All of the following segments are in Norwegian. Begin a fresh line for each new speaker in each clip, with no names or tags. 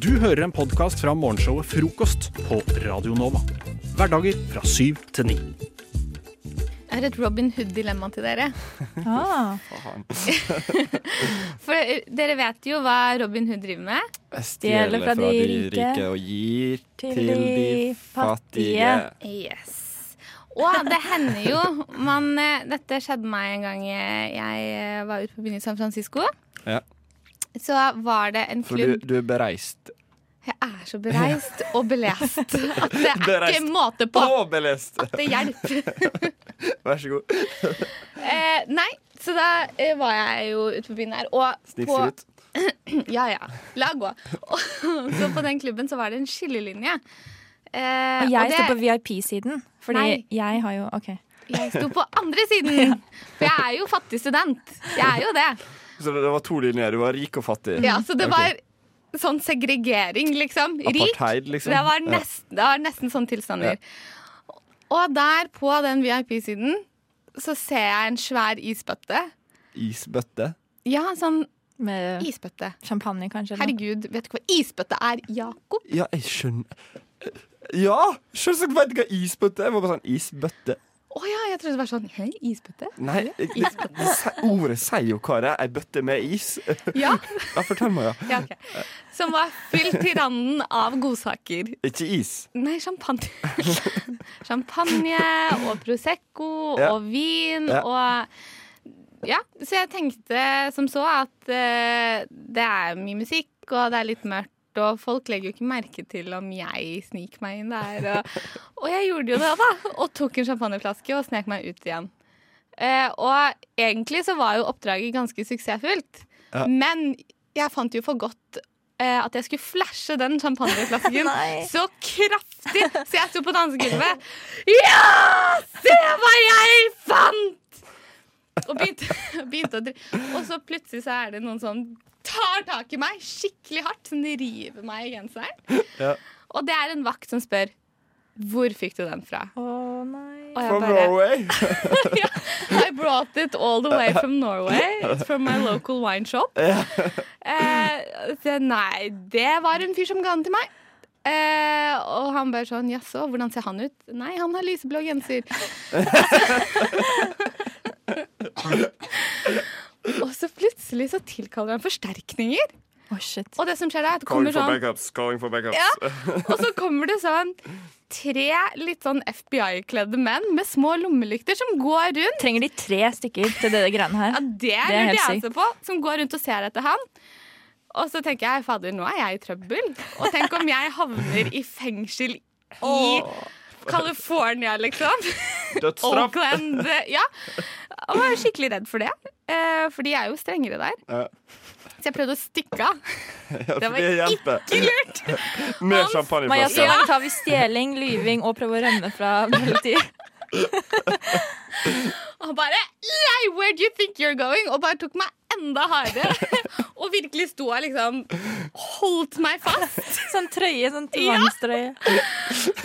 Du hører en podkast fra morgenshowet Frokost på Radio Nova. Hverdager fra syv til ni.
Jeg har et Robin Hood-dilemma til dere.
Ah.
For eh, dere vet jo hva Robin Hood driver med.
Stjele fra de rike
og gir
til de fattige.
Yes. Og det hender jo man, eh, Dette skjedde meg en gang eh, jeg eh, var ute på byen i San Francisco.
Ja.
Så var det en
For du,
klubb
du er bereist.
Jeg er så bereist og belest at det er
Bereist.
ikke måte på.
Og belest!
Det hjelper.
Vær så god.
Eh, nei, så da eh, var jeg jo ute på byen her. Og på,
Snipser ut.
Ja, ja. La gå. Og så på den klubben så var det en skillelinje. Eh,
Og jeg
det-
står på VIP-siden, fordi
Nei.
jeg har jo OK.
jeg sto på andre siden! For jeg er jo fattig student. Jeg er jo det.
Så det var to linjer. Du var rik og fattig.
Ja, så det
Ok.
var sånn segregering, liksom. Rik.
Apartheid, liksom.
Det var
Ja.
nesten, det var nesten sånn tilstander. Og der på den VIP-siden så ser jeg en svær isbøtte.
Isbøtte.
Ja, sånn
Med
isbøtte.
champagne, kanskje. eller noe.
Herregud, vet du hva isbøtte er, Jakob?
Ja, jeg skjønner Ja! Selvsagt vet jeg hva isbøtte er. Jeg var bare sånn isbøtte.
Å ja, jeg trodde det var sånn Hei, isbøtte?
Nei, det, det, se- ordet sier jo hva det er. Ei bøtte med is.
Ja.
Ja, fortell meg, ja.
Ja, ok. Som var fylt til randen av godsaker.
Ikke is.
Nei, champagne. champagne og Prosecco
Ja.
og vin
Ja.
og Ja, så jeg tenkte som så at eh, det er mye musikk, og det er litt mørkt. Og folk legger jo ikke merke til om jeg sniker meg inn der. Og, og jeg gjorde jo det, da. Og tok en champagneflaske og snek meg ut igjen. Eh, og egentlig så var jo oppdraget ganske suksessfullt.
Ja.
Men jeg fant jo for godt eh, at jeg skulle flashe den champagneflasken
Nei.
så kraftig, så jeg sto på dansegulvet. Ja! Se hva jeg fant! Og begynte, begynte å drikke. Og så plutselig så er det noen som tar tak i meg skikkelig hardt. Sånn de river meg i genseren.
Ja.
Og det er en vakt som spør hvor fikk du den fra?
Å nei.
Og jeg
From
bare
Norway.
I brought it all the way from Norway. It's from my local wine shop. Eh, så nei, det var en fyr som ga den til meg. Eh, og han bare sånn Jaså, hvordan ser han ut? Nei, han har lyseblå genser. og så plutselig så tilkaller han forsterkninger.
Å, shit.
Og det som skjer da, er at det kommer sånn
backups. Calling for backups.
og så kommer det sånn tre litt sånn FBI-kledde menn med små lommelykter som går rundt.
Trenger de tre stykker til det greiene her?
Ja, det
Det er
er det
helt
jeg ser på, som går rundt og ser etter han. Og så tenker jeg fader, nå er jeg i trøbbel. Og tenk om jeg havner i fengsel i California, liksom.
Dødsstraff.
Oakland. eh, Ja. Jeg var skikkelig redd for det, eh, for de er jo strengere der.
Ja.
Så jeg prøvde å stikke av.
Ja,
Det
for
var
det hjelper.
ikke lurt.
Mer
Hans-
Maja, så
champagneflasker.
langt har vi stjeling, lyving og prøve å rømme fra politiet.
Og bare Lei, where do you think you're going? Og bare tok meg enda hardere. Og virkelig sto og liksom holdt meg fast.
Sånn trøye, sånn tvangstrøye.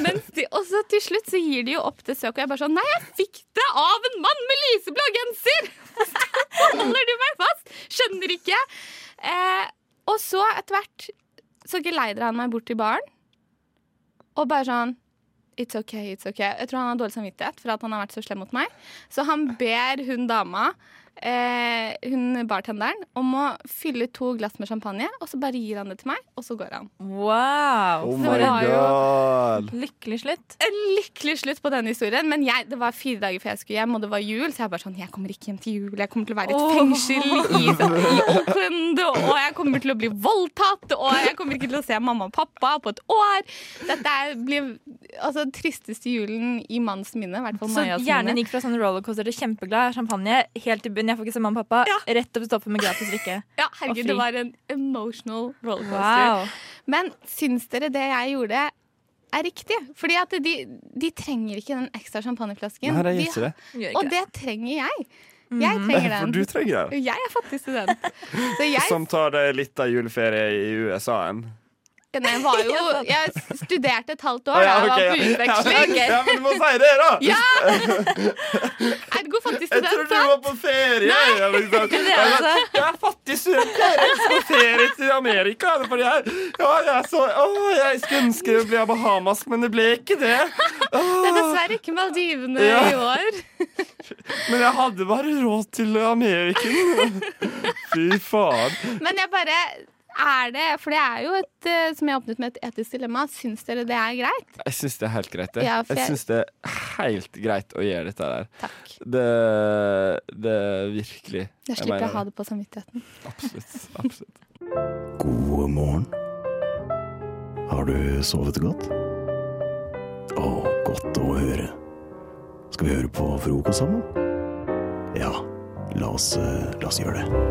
Mens de, og så til slutt så gir de jo opp til søk, og jeg bare sånn Nei, jeg fikk det av en mann med lyseblå genser! Så holder du meg fast! Skjønner ikke. Eh, og så etter hvert så geleider han meg bort til baren, og bare sånn It's ok, it's ok. Jeg tror han har dårlig samvittighet for at han har vært så slem mot meg. Så han ber hun dama, eh, hun bartenderen, om å fylle to glass med champagne, og så bare gir han det til meg, og så går han.
Wow.
Oh
Så
my
det var jo-
god.
Lykkelig slutt.
en lykkelig slutt på denne historien, men jeg, det var fire dager før jeg skulle hjem, og det var jul, så jeg bare sånn Jeg kommer ikke hjem til jul. Jeg kommer til å være i et
Åh.
fengsel i, i Oakland, og jeg kommer til å bli voldtatt, og jeg kommer ikke til å se mamma og pappa på et år. Dette er- blir altså tristeste julen i manns minne, i hvert fall
Så
Majas
hjernen
minne.
gikk fra sånn rollercoaster til kjempeglad, kjempeglad, champagne, helt i bunnen, jeg får ikke se mamma og pappa,
Ja.
rett opp i stoppen med gratis drikke.
Ja,
og
herregud,
fri.
det var en emotional rollercoaster.
Wow.
Men syns dere det jeg gjorde er riktig? Fordi at de, de trenger ikke den ekstra champagneflasken.
Nei, det
De
gjør ikke det.
Og det trenger jeg. Jeg trenger
For
den.
du trenger Sånn. det.
Jeg er fattig student. Så jeg
Som tar deg litt av juleferie i USA-en.
Bjørken. Jeg, var jo, jeg studerte et halvt
Å,
år da jeg
ok,
var på
ja,
utveksling.
men, ja, men du må si det, da!
Ja! Ergo fattig
Jeg trodde
student.
du
da.
var på ferie! Jeg, liksom.
er
Jeg
altså-
bare, jeg er fattig student, jeg reiser på ferie til Amerika. det er Fordi jeg, ja, jeg, er så, å, jeg skulle ønske det ble Bahamas, men det ble ikke det.
Det er dessverre ikke Maldivene
Ja.
i år.
Men jeg hadde bare råd til Amerika. Fy faen.
Men jeg bare er det, for det er jo et, eh, som jeg åpnet med, et etisk dilemma. Syns dere det er greit?
Jeg syns det er helt greit. det.
Ja, for
Jeg
jeg-
syns det er helt greit å gjøre dette der.
Takk.
Det, det er virkelig.
Da slipper jeg å ha det på samvittigheten.
Absolutt. absolutt.
God morgen. Har du sovet godt? Å, godt å høre. Skal vi høre på frokost sammen? Ja, la oss, eh, la oss gjøre det.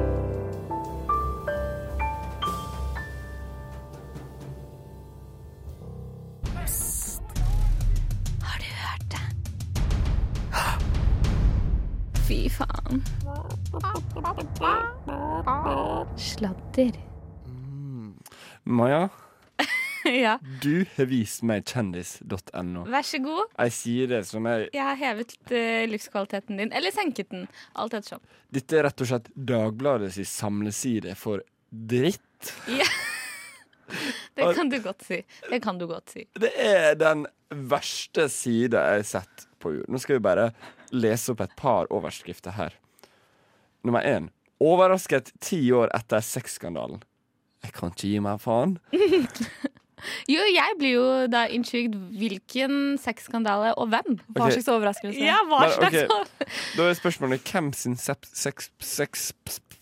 Har du hørt det? Fy faen. Sladder.
Maja,
ja.
du har vist meg kjendis.no.
Vær så god.
Jeg sier det som jeg
Jeg har hevet eh, livskvaliteten din. Eller senket den. Alt ettersom.
Dette er rett og slett Dagbladets samleside for dritt.
Det kan du godt si. Det kan du godt si.
Det er den verste sida jeg har sett på jord. Nå skal vi bare lese opp et par overskrifter her. Nummer én. Overrasket ti år etter sexskandalen. Jeg kan ikke gi meg faen.
Jo, jeg blir jo da intrigued hvilken sexskandale og hvem.
Hva
Ok.
slags overraskelse.
hva
Men, ok. Da er spørsmålet hvem sin sep- sex- sex-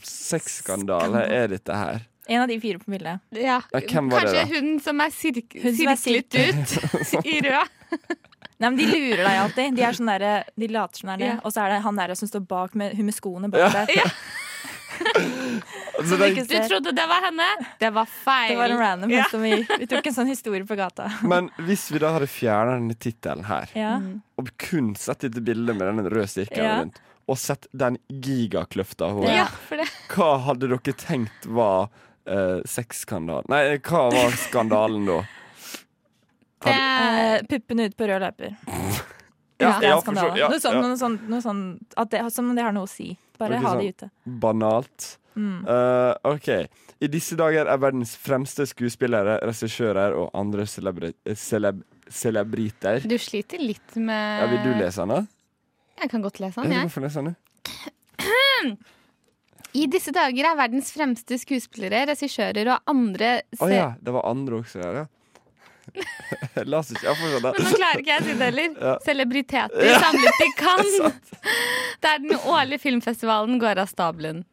sexskandale er dette her?
En av de fire på bildet.
Ja.
Ja, hvem var det
Kanskje hun som er sirk
Hun som er
sirklet ut i rød.
Nei, men De lurer deg alltid. De, er sånn derre- de later som det er det,
Ja.
og så er det han der som står bak med, hun med skoene
Ja.
bak der.
Altså,
du
den-
ikke
Du trodde det var henne. Det var feil.
Det var en random
Ja.
som vi, vi tok en sånn historie på gata.
men hvis vi da hadde fjerna denne tittelen her,
Ja.
Mm.
og kun sett dette bildet med den røde sirkelen
Ja.
rundt, og sett den gigakløfta hun er,
Ja, for det.
hva hadde dere tenkt var uh, sexskandalen? Nei, hva var skandalen da?
det
Eh, puppene ut på rød løper.
Ja,
Det er en
for så-
skandale.
ja,
noe sånn,
ja.
noe sånn, noe sånn at det, Som om det har noe å si. Bare
Ikke
ha de ute.
sånn
Mm.
Banalt. Eh, OK. I disse dager er verdens fremste skuespillere, regissører og andre celebri celeb celebriter
Du eh, sånn, sliter litt med
ja, Vil du lese den, da?
Jeg kan godt lese den,
Ja,
jeg.
du får lese den, du.
I disse dager er verdens fremste skuespillere, regissører og andre
Å
se-
ja, det var andre også her, ja. Jeg las ikke. Ja, fortsatt.
Men nå klarer ikke jeg å si det heller.
Ja.
Celebriteter samlet i Cannes. Der den årlige filmfestivalen går av stabelen.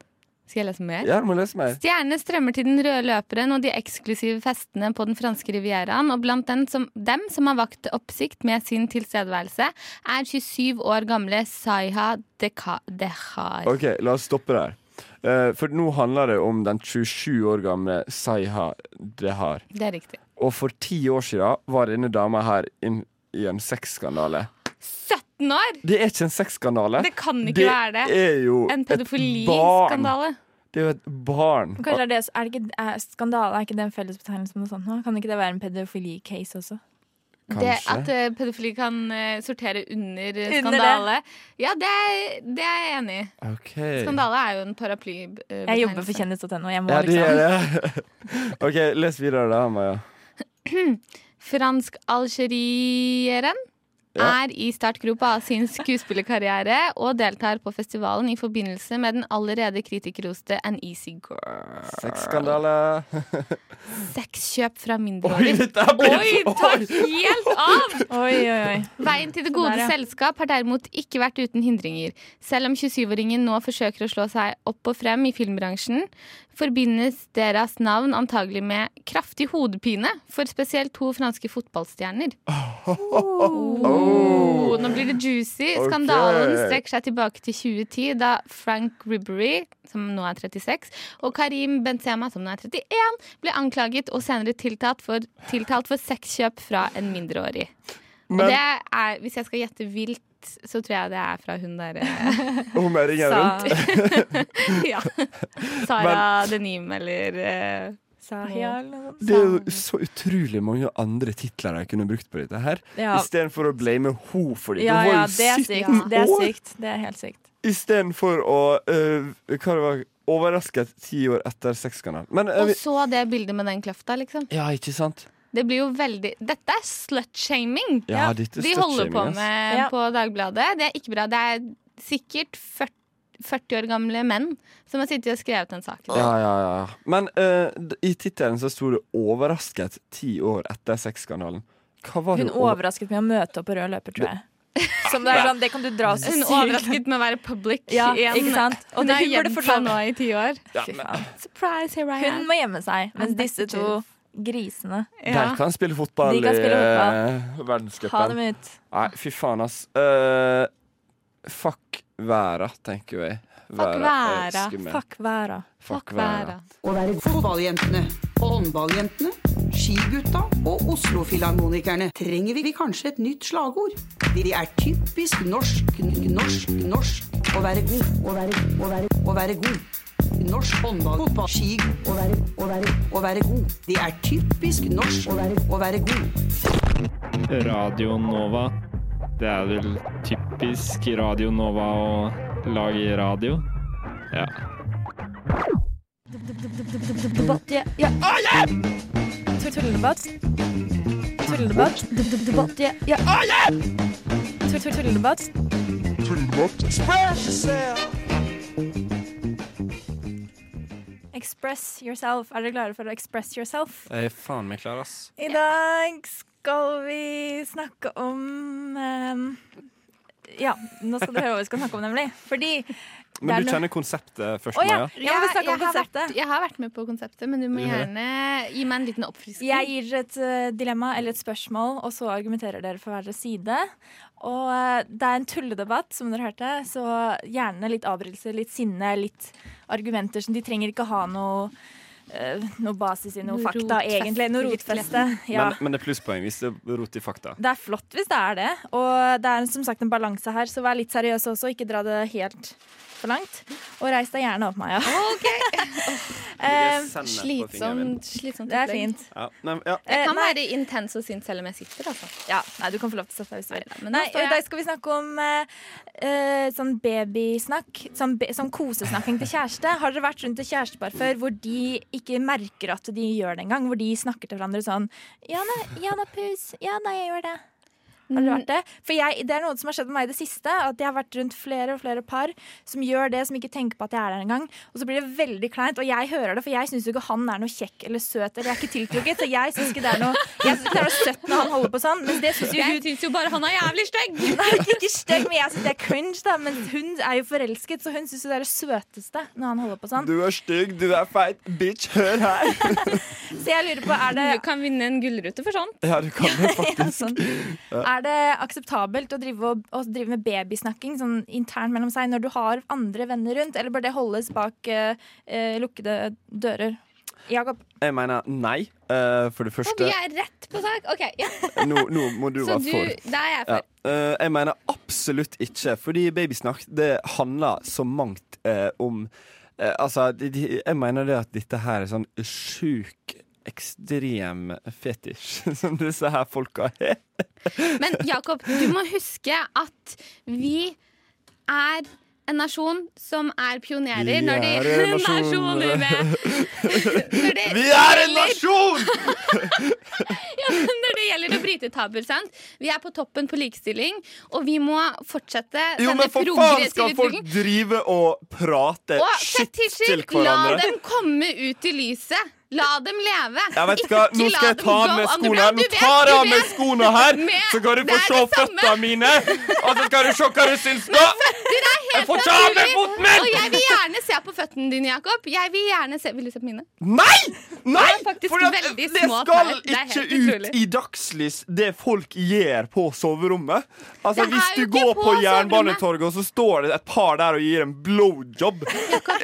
Skal jeg lese mer?
Ja, du må lese mer.
Stjernene strømmer til den røde løperen og de eksklusive festene på den franske rivieraen, og blant dem som, dem som har vakt oppsikt med sin tilstedeværelse, er 27 år gamle Saiha Deka- Dehar.
OK, la oss stoppe der. Eh, for nå handler det om den 27 år gamle Saiha Dehar.
Det er riktig.
Og for ti år siden var denne dama her inn i en sexskandale.
17 år!
Det er ikke en sexskandale.
Det kan ikke være det.
er jo
En
et barn.
pedofiliskandale.
Det er jo et barn.
Men Kanskje er det, er det ikke, er skandale er ikke det en fellesbetegnelse på noe sånt? nå? Kan ikke det være en pedofili-case også?
Det at eh, pedofili kan eh, sortere under, eh,
Under
skandale. Ja, det er, det er jeg enig i.
Ok.
Skandale er jo en eh, paraplybetegnelse.
Jeg jobber for kjendis.no. Jeg må
Ja, det
liksom
er det. OK, les videre da, Maja.
Fransk-algerieren
Ja.
er i startgropa av sin skuespillerkarriere og deltar på festivalen i forbindelse med den allerede kritikerroste An Easy Girl.
Sexskandale.
Sexkjøp fra
Oi,
mindreårig.
dette blir
Oi, tar helt av!
Oi, oi, oi.
Veien til det gode
Der, ja.
selskap har derimot ikke vært uten hindringer. Selv om 27-åringen nå forsøker å slå seg opp og frem i filmbransjen, forbindes deres navn antagelig med kraftig hodepine for spesielt to franske fotballstjerner. Oh, nå blir det juicy.
Ok.
Skandalen strekker seg tilbake til 2010, da Frank Ribery, som nå er 36, og Karim Benzema, som nå er 31, ble anklaget og senere tiltalt for, tiltalt for sexkjøp fra en mindreårig. Og
Men
det er, hvis jeg skal gjette vilt, så tror jeg det er fra hun eh, derre
hun er ringen rundt.
Sa-
ja. Sara Denim, eller eh,
Sahia eller noe sånt.
Det er jo så utrolig mange andre titler de kunne brukt på dette her.
Ja.
Istedenfor å blame ho for det.
Ja,
Hun var
ja,
jo
det
17
er sykt. Det er
år.
sykt. Det er helt sykt.
Istedenfor å øh, Hva det var Overrasket ti år etter Sexkanal. Men øh,
Og
vi-
så det bildet med den kløfta, liksom.
Ja, ikke sant?
Det blir jo veldig Dette er slut-shaming!
Ja, dette er
De holder på
slut-shaming, ass.
med
Ja.
på Dagbladet. Det er ikke bra. Det er sikkert 40, 40 år gamle menn som har sittet og skrevet den saken.
Ja, ja, ja. Men øh, d- i tittelen så sto det 'Overrasket ti år etter Sexkanalen'. Hva var
Hun
det over-
overrasket meg å møte opp på rød løper, tror jeg. Som det er sånn, det kan du dra oss
Hun overrasket med å være public
Ja,
igjen.
ikke sant? Og
Hun
det
har
hun burde
gjemt
fortalt-
seg nå i ti år.
Ja,
Fy
men-
faen.
Surprise, here I
Hun
am.
må gjemme seg, mens
I'm back
disse
to
to grisene
Ja.
De kan spille fotball
De kan spille
i øh, verdenscupen.
Ha dem ut.
Nei, fy faen, ass. Eh, fuck væra, tenker jo jeg. Væra er
væra.
skummel.
Fuck verda.
Fuck
Vera.
Å være fotballjentene, håndballjentene, skigutta og Oslo-filharmonikerne trenger vi kanskje et nytt slagord. De er typisk norsk, norsk, norsk. Å være god, å være, å være, å være god. Norsk håndball, fotball, ski, å være, å være, å være god. De er typisk norsk, å være, å være god.
Radio Nova. Det er vel typisk Radio Nova å lage radio. Ja.
Debatt, ja, ja,
Tulledebatt. Tulledebatt.
debatt, ja, ja.
Tull- tull- Tulledebatt. Express yourself. Er dere klare for å express yourself?
Jeg er faen meg klar, ass.
I dag skal vi snakke om ehm, Ja, nå skal dere høre hva vi skal snakke om, nemlig. Fordi Det er
Men du
noe-
kjenner konseptet først,
Å ja!
Maja?
Jeg må snakke om
har vært,
konseptet.
jeg har vært med på konseptet, men du må
Ja.
gjerne gi meg en liten oppfriskning.
Jeg gir dere et eh, dilemma eller et spørsmål, og så argumenterer dere for hver deres side. Og eh, det er en tulledebatt, som dere hørte, så gjerne litt avbrytelse, litt sinne, litt argumenter som de trenger ikke ha noe eh, noe basis i noe
Noe
fakta,
rotfeste.
egentlig. Noe rotfeste. Ja.
Men, men det er plusspoeng hvis det er rot i fakta.
Det er flott hvis det er det, og det er som sagt en balanse her, så vær litt seriøs også, ikke dra det helt for langt. Og reis deg gjerne opp, Maja. Eh,
Slitsomt, slitsomt
det er
opplegg.
fint.
Ja, nei, ja.
Jeg
Eh,
kan
nei.
være intens og sint selv om jeg sitter, altså.
Ja, nei, du kan få lov til å sette deg hvis du vil.
Neida, men nå
Nei,
står jeg-
I dag skal vi snakke om eh, eh, sånn babysnakk, sånn, be sånn kosesnakking til kjæreste. Har dere vært rundt et kjærestepar før hvor de ikke merker at de gjør det engang? Hvor de snakker til hverandre sånn Ja da, ja da, pus. Ja da, jeg gjør det. Har dere vært det? For jeg, det er noe som har skjedd med meg i det siste. At jeg har vært rundt flere og flere par som gjør det, som ikke tenker på at jeg er der engang. Og så blir det veldig kleint. Og jeg hører det, for jeg syns jo ikke han er noe kjekk eller søt. Eller jeg er ikke tiltrukket, så jeg syns ikke det er noe Jeg synes ikke det er noe søtt når han holder på sånn. Men det syns jo
Jeg
hun
syns jo bare han er jævlig stygg!
Nei, ikke stygg, men jeg syns det er cringe, da. Men hun er jo forelsket, så hun syns jo det er det søteste når han holder på sånn.
Du er stygg, du er feit, bitch, hør her!
Så jeg lurer på, er det
Du kan vinne en gullrute for sånn.
Ja, du kan det
Ja,
faktisk.
sånn. Er det akseptabelt å drive, og, å drive med babysnakking sånn internt mellom seg når du har andre venner rundt, eller bør det holdes bak eh, eh, lukkede dører? Jakob,
Jeg mener nei, eh, for det
Og vi
første.
er rett på sak! Ok, ja.
Nå, nå må du
Så
være
du,
for.
da er jeg
Ja.
for.
Eh, jeg mener absolutt ikke, fordi babysnakk det handler så mangt eh, om eh, Altså, de, de, jeg mener det at dette her er sånn sjuk, ekstrem fetisj som disse her folka har.
Men Jakob, du må huske at vi er en nasjon som er pionerer
Vi
når det
er en
gjelder
nasjon.
nasjoner med når det,
Vi er en nasjon!
når det gjelder å bryte tabuer, sant? Vi er på toppen på likestilling, og vi må fortsette
Jo,
denne
men for faen skal
progressive
folk
utviklingen.
drive og prate
Og
shit til
fetisjer, la
hverandre?
dem komme ut i lyset. La dem leve.
Jeg vet ikke, hva, Nå
la
skal jeg
dem
ta av
go
meg skoene her. Nå
underground. Du vet,
tar jeg
du
av meg
vet.
skoene her,
Med-
så skal du
det
få
er
se
det samme.
føttene mine! Og så skal du se hva du syns nå!
Det er helt
Jeg får ikke av meg
naturlig.
foten min!
Og jeg vil gjerne se på føttene dine, Jakob. Jeg Vil gjerne se Vil du se på mine?
Nei! Nei!
Det er faktisk
For det,
veldig
det
små
skal
tær. Det er
ikke
helt
ut
utrolig.
i dagslys, det folk gjør på soverommet. Altså,
Det er
Hvis
jo
du
ikke
går
på
på
soverommet.
Jernbanetorget, og så står det et par der og gir en blowjob,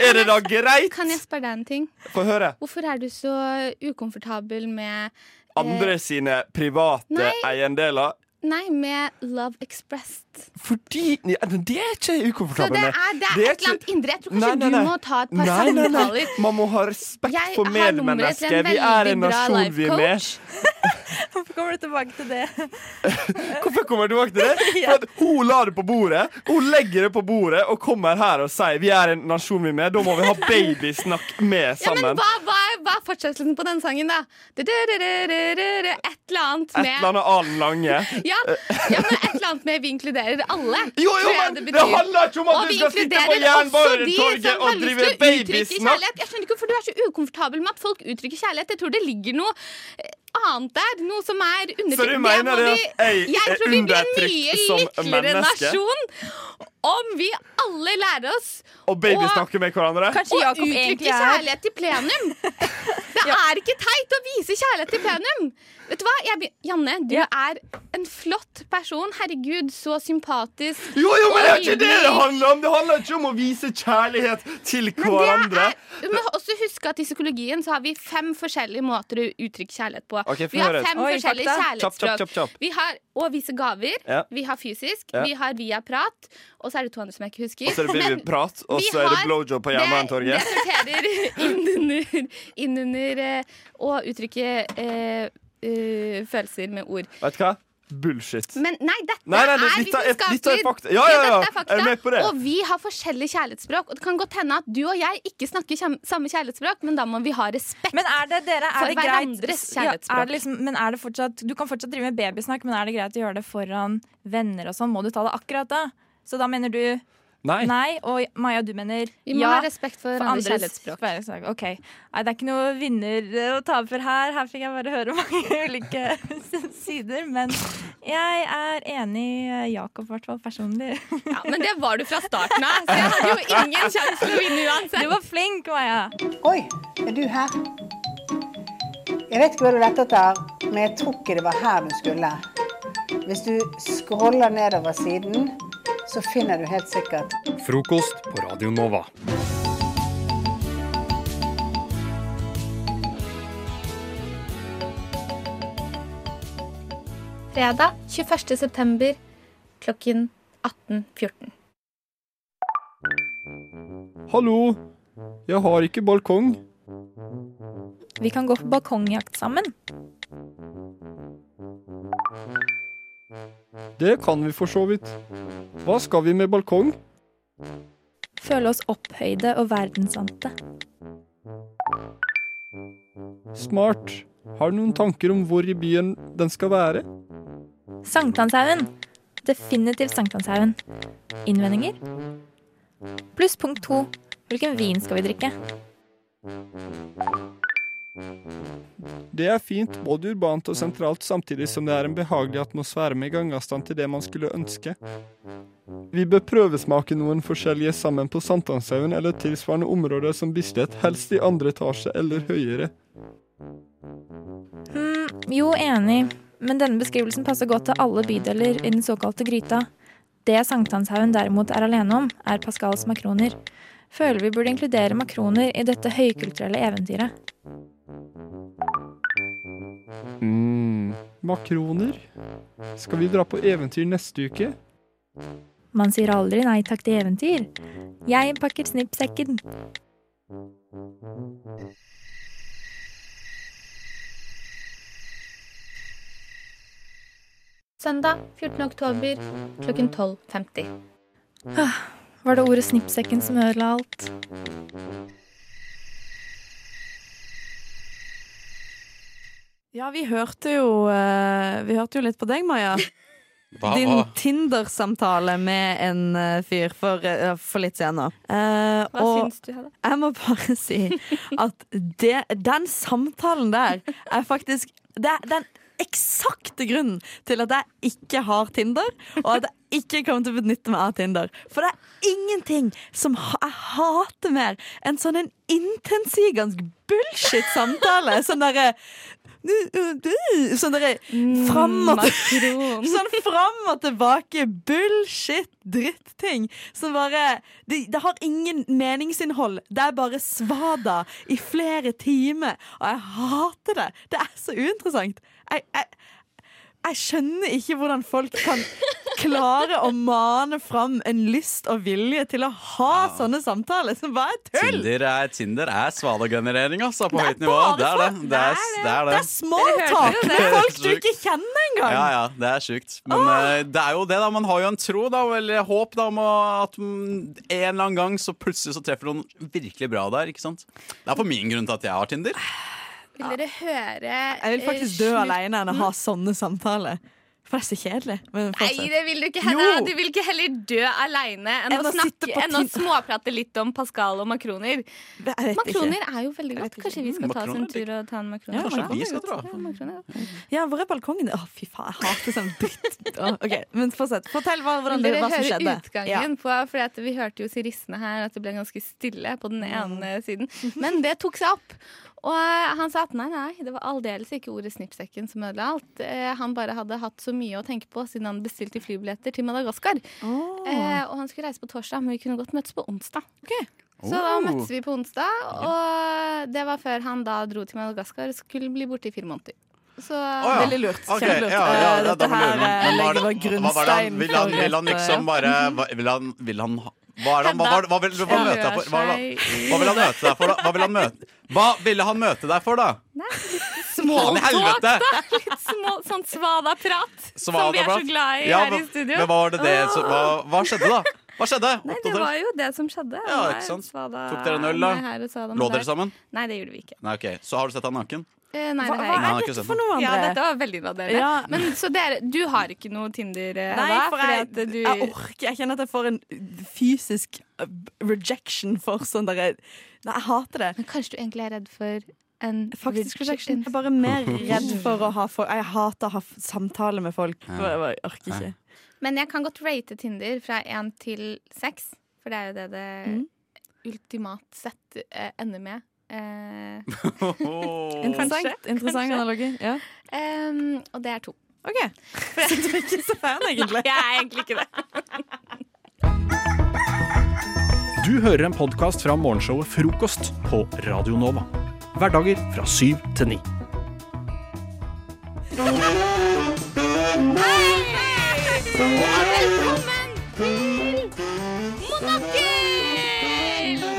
er det da greit?
Kan jeg spørre deg en ting?
Få høre.
Hvorfor er du så ukomfortabel med
Andre sine private
Eh, Nei.
eiendeler.
Nei, med Love Expressed.
Fordi ja, Det er ikke jeg
Så
ukomfortabel
det
med.
er, det er
Det er
et eller annet
ikke-
indre. Jeg tror kanskje
Nei, nei, nei.
du må ta et par
Nei, nei, nei.
samtaler.
Man må ha respekt
Jeg
for
har nummeret til
medmennesket.
en
Vi er en
veldig bra
nasjon vi er med.
life-coach.
Hvorfor kommer du tilbake til det?
Hvorfor kommer du tilbake til det? For at hun la det på bordet, hun legger det på bordet og kommer her og sier vi er en nasjon vi er med. Da må vi ha babysnakk med
Ja, men
sammen.
hva, hva, er- hva er fortsettelsen på den sangen, da? Du-du-du-du-du-du-du, Et eller annet
Et eller
med
annet Eh, Alen Lange.
ja, ja, men et eller annet med 'vi inkluderer alle'.
Jo, jo,
tror jeg
men
det
det
betyr.
handler ikke om
Og
at
vi
du skal sitte på
inkluderer også de
Jernbanetorget
som har
og
lyst
drive
til å uttrykke
babysnakk.
kjærlighet. Jeg skjønner ikke hvorfor du er så ukomfortabel med at folk uttrykker kjærlighet. Jeg tror det ligger noe eh, annet der. Noe som er undertrykt.
Så du mener det
må
at jeg
vi,
er
jeg tror vi blir en
undertrykt
mye
som
lykkeligere
menneske?
nasjon om vi alle lærer oss
Og babysnakke med hverandre.
Kanskje
å
Jakob
uttrykke
egentlig er
kjærlighet i plenum. Det er ikke teit å vise kjærlighet i plenum. Vet du hva? Jeg, be- Janne, du
Ja.
er en flott person. Herregud, så sympatisk.
Jo, jo, men det er ikke det det
Oi.
handler om! Det handler ikke om å vise kjærlighet til
Men det
hverandre.
er, vi må også huske at i psykologien så har vi fem forskjellige måter å uttrykke kjærlighet på.
Ok, få
vi har
høre.
fem
Oi,
forskjellige
fakta.
Kjapp, kjapp,
kjærlighetsspråk.
kjapp, kjapp.
Vi har å vise gaver,
Ja.
vi har fysisk,
Ja.
vi har via prat, og så er det to andre som jeg ikke husker.
Og så er det
Men
babyprat, og
vi
så er det
har-
blowjob på
det,
Jernbanetorget.
det sorterer inn under, inn under eh, å uttrykke eh, eh, følelser med ord.
Vet du hva? Bullshit.
Men nei, dette
Nei, nei, det-
er
dette er- dette er
vitenskapelig.
fakta. Ja, ja, ja.
dette er fakta.
Er du med på det?
Og vi har forskjellig kjærlighetsspråk. Og det kan godt hende at du og jeg ikke snakker kjem- samme kjærlighetsspråk, men da må vi ha respekt.
Men er det, dere, er
For
det greit
hverandres
Ja,
kjærlighetsspråk.
er det liksom, Men er det fortsatt Du kan fortsatt drive med babysnakk, men er det greit å gjøre det foran venner og sånn? Må du ta det akkurat da? Så da mener du
Nei.
nei, og Maja, du mener
Vi må
ja.
ha respekt for,
For
andres
andres
kjærlighetsspråk.
kjærlighetsspråk. Ok, Nei, Det er ikke noe vinner eh, å tape her. Her fikk jeg bare høre mange ulike sider. Men jeg er enig eh, Jakob, i hvert fall personlig.
Ja, men det var du fra starten av, så jeg hadde jo ingen sjanse til å vinne
Du
uansett.
var flink, Maja.
Oi, er du her? Jeg vet ikke hva du lette etter, men jeg tror ikke det var her du skulle. Hvis du scroller nedover siden, så finner du helt sikkert
Frokost på Radio Nova.
Fredag 21. september klokken 18.14.
Hallo, jeg har ikke balkong.
Vi kan gå på balkongjakt sammen.
Det kan vi for så vidt. Hva skal vi med balkong?
Føle oss opphøyde og verdensvante.
Smart. Har du noen tanker om hvor i byen den skal være?
Sankthanshaugen. Definitivt Sankthanshaugen. Innvendinger? Pluss punkt to. Hvilken vin skal vi drikke?
Det er fint, både urbant og sentralt, samtidig som det er en behagelig atmosfære med gangavstand til det man skulle ønske. Vi bør prøvesmake noen forskjellige sammen på Sankthanshaugen eller tilsvarende områder som Bislett, helst i andre etasje eller høyere.
Hmm, jo, enig. Men denne beskrivelsen passer godt til alle bydeler i den såkalte gryta. Det Sankthanshaugen derimot er alene om, er Pascals makroner. Føler vi burde inkludere makroner i dette høykulturelle eventyret.
mm. Makroner? Skal vi dra på eventyr neste uke?
Man sier aldri nei takk til eventyr. Jeg pakker snippsekken.
Søndag 14. oktober klokken 12.50.
Ah,
Ah,
Var det ordet snippsekken som ødela alt?
Ja, vi hørte jo, eh, vi hørte jo litt på deg, Maja. Din Tinder-samtale med en eh, fyr for, eh, for litt siden nå. Eh,
Hva
og
syns du, Hedda?
jeg må bare si at det, den samtalen der er faktisk Det er den eksakte grunnen til at jeg ikke har Tinder, og at jeg ikke kommer til å benytte meg av Tinder. For det er ingenting som ha, jeg hater mer enn sånn en intensivgansk bullshit-samtale. Sånn derre Sånn derre
Mm,
fram og
Makron.
Sånn fram og tilbake, bullshit, dritting. Som bare det, det har ingen meningsinnhold. Det er bare svada i flere timer. Og jeg hater det. Det er så uinteressant. Jeg, jeg, Jeg skjønner ikke hvordan folk kan klare å mane fram en lyst og vilje til å ha sånne samtaler. Som bare er tull!
Tinder er, Tinder er svalegenerering, altså, på
Det er
høyt nivå.
bare
Det er det.
svale.
Det er, det er
Det
det.
er smalltalk
Dere hørte jo det.
med folk du
Sjukt.
ikke kjenner engang!
Ja, ja, det er sjukt. Men eh, det er jo det, da. Man har jo en tro, da, eller håp, da, om å- at mm, en eller annen gang så plutselig så treffer noen virkelig bra der, ikke sant. Det er på min grunn til at jeg har Tinder.
Vil dere høre eh, Mm.
Jeg vil faktisk dø alene enn å ha sånne samtaler. For det er så kjedelig. Men
Nei,
fortsett.
det vil du ikke henne.
Jo.
Du vil ikke heller dø aleine enn,
Enn
å
å sitte
snakke-
på
enn å
Tinder.
småprate litt om Pascal og makroner.
Det- jeg vet ikke.
Makroner er jo veldig godt. Kanskje vi skal ta oss en
Makroner,
tur og ta en makron?
Ja,
Kanskje
makroner
vi skal dra.
Ja, makroner, ja.
Ja, hvor er balkongen? Å, fy faen, jeg hater sånn dritt. Å, ok, Men fortsett. Fortell hva, hvordan
Vil
det,
dere
hva som
høre
skjedde. Ja.
utgangen på For at vi hørte jo sirissene her at det ble ganske stille på den
Mhm.
ene eh, siden. Men det tok seg opp. Og eh, han sa at nei, nei, det var aldeles ikke ordet snippsekken som ødela alt. Eh, han bare hadde hatt så mye å tenke på siden han bestilte flybilletter til Madagaskar. Eh, og han skulle reise på torsdag, men vi kunne godt møtes på onsdag. Så da
Oh.
møttes vi på onsdag, og det var før han da dro til Madagaskar og skulle bli borte i fire måneder. Så
Å, ja.
Veldig lurt.
Ok,
Kjempelurt.
ja, ja,
Eh,
ja, da
Dette
lurer
her
man.
eh,
Men var
legger vår
det- hva var det han-
grunnstein.
Vil han,
for
vil han
et, eh,
liksom bare hva- Vil han, vil han ha- hva er det han, hva, var- hva, vil, hva, møte deg for? Hva, hva vil han møte deg for, da? Hva vil han møte, hva ville han møte deg for, da? Faen i
Smalltalk,
helvete!
da! Litt små, sånn svada-prat som vi er så
Svalabrat.
glad i
Ja,
her i
men-
studio.
Men hva, var det det, så, hva, hva skjedde, da? Hva skjedde?
Nei, det
Oppdater.
var jo det som skjedde.
Ja,
Det
ikke sant.
var svada
Tok dere en øl, da?
med her og svada med
Lå
der.
dere sammen?
Nei, det gjorde vi ikke.
Nei, ok, Så har du sett han naken?
Eh, nei, det
Hva, hva
har jeg
Nei,
er
ikke
dette
sant.
for noe,
ikke. Ja, dette
André?
var veldig invaderende.
Ja.
Men så dere, du har ikke noe Tinder, eh,
Nei,
Eva?
for
fordi
jeg,
at du,
jeg orker Jeg kjenner at jeg får en uh, fysisk eh, rejection for sånn derre Nei, jeg hater det.
Men kanskje du egentlig er redd for en
Faktisk rejection.
rejection?
Jeg er bare mer redd for å ha folk Jeg hater å ha f- samtale med folk. Jeg, bare orker ikke.
Men jeg kan godt rate Tinder fra én til seks, for det er jo det det
Mm.
ultimat sett eh, ender med. Eh,
Interessant, interessant analogi. Ja.
em, og det er to.
OK. Så du er ikke så fan, egentlig?
Jeg er egentlig ikke det.
Du hører en podkast fra morgenshowet Frokost på Radio Nova. Hverdager fra syv til ni.
Velkommen til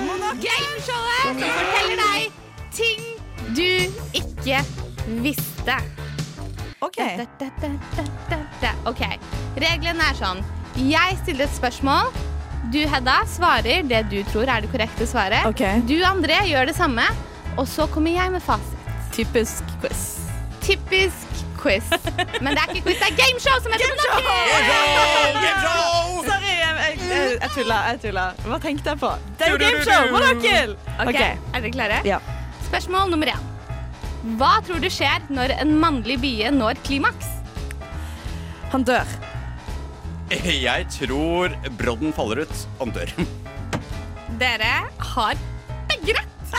Monokkel! Gameshowet som forteller deg ting du ikke visste.
OK.
Da, da, da, da, da, da. OK. Reglene er sånn. Jeg stiller et spørsmål. Du, Hedda, svarer det du tror er det korrekte svaret.
Ok.
Du, André, gjør det samme. Og så kommer jeg med fasit.
Typisk quiz.
Typisk quiz. Men det er ikke quiz, det er gameshow som heter
Gameshow!
Monokkel!
Gameshow!
Sorry, jeg, jeg, jeg, jeg tulla. Jeg tulla. Hva tenkte jeg på? Det er jo
Du, du, du,
gameshow!
du.
Monokkel!
Ok,
OK.
Er dere klare?
Ja.
Spørsmål nummer én. Hva tror du skjer når en mannlig bie når klimaks?
Han dør.
Jeg tror Brodden faller ut. Han dør.
Dere har begge rett.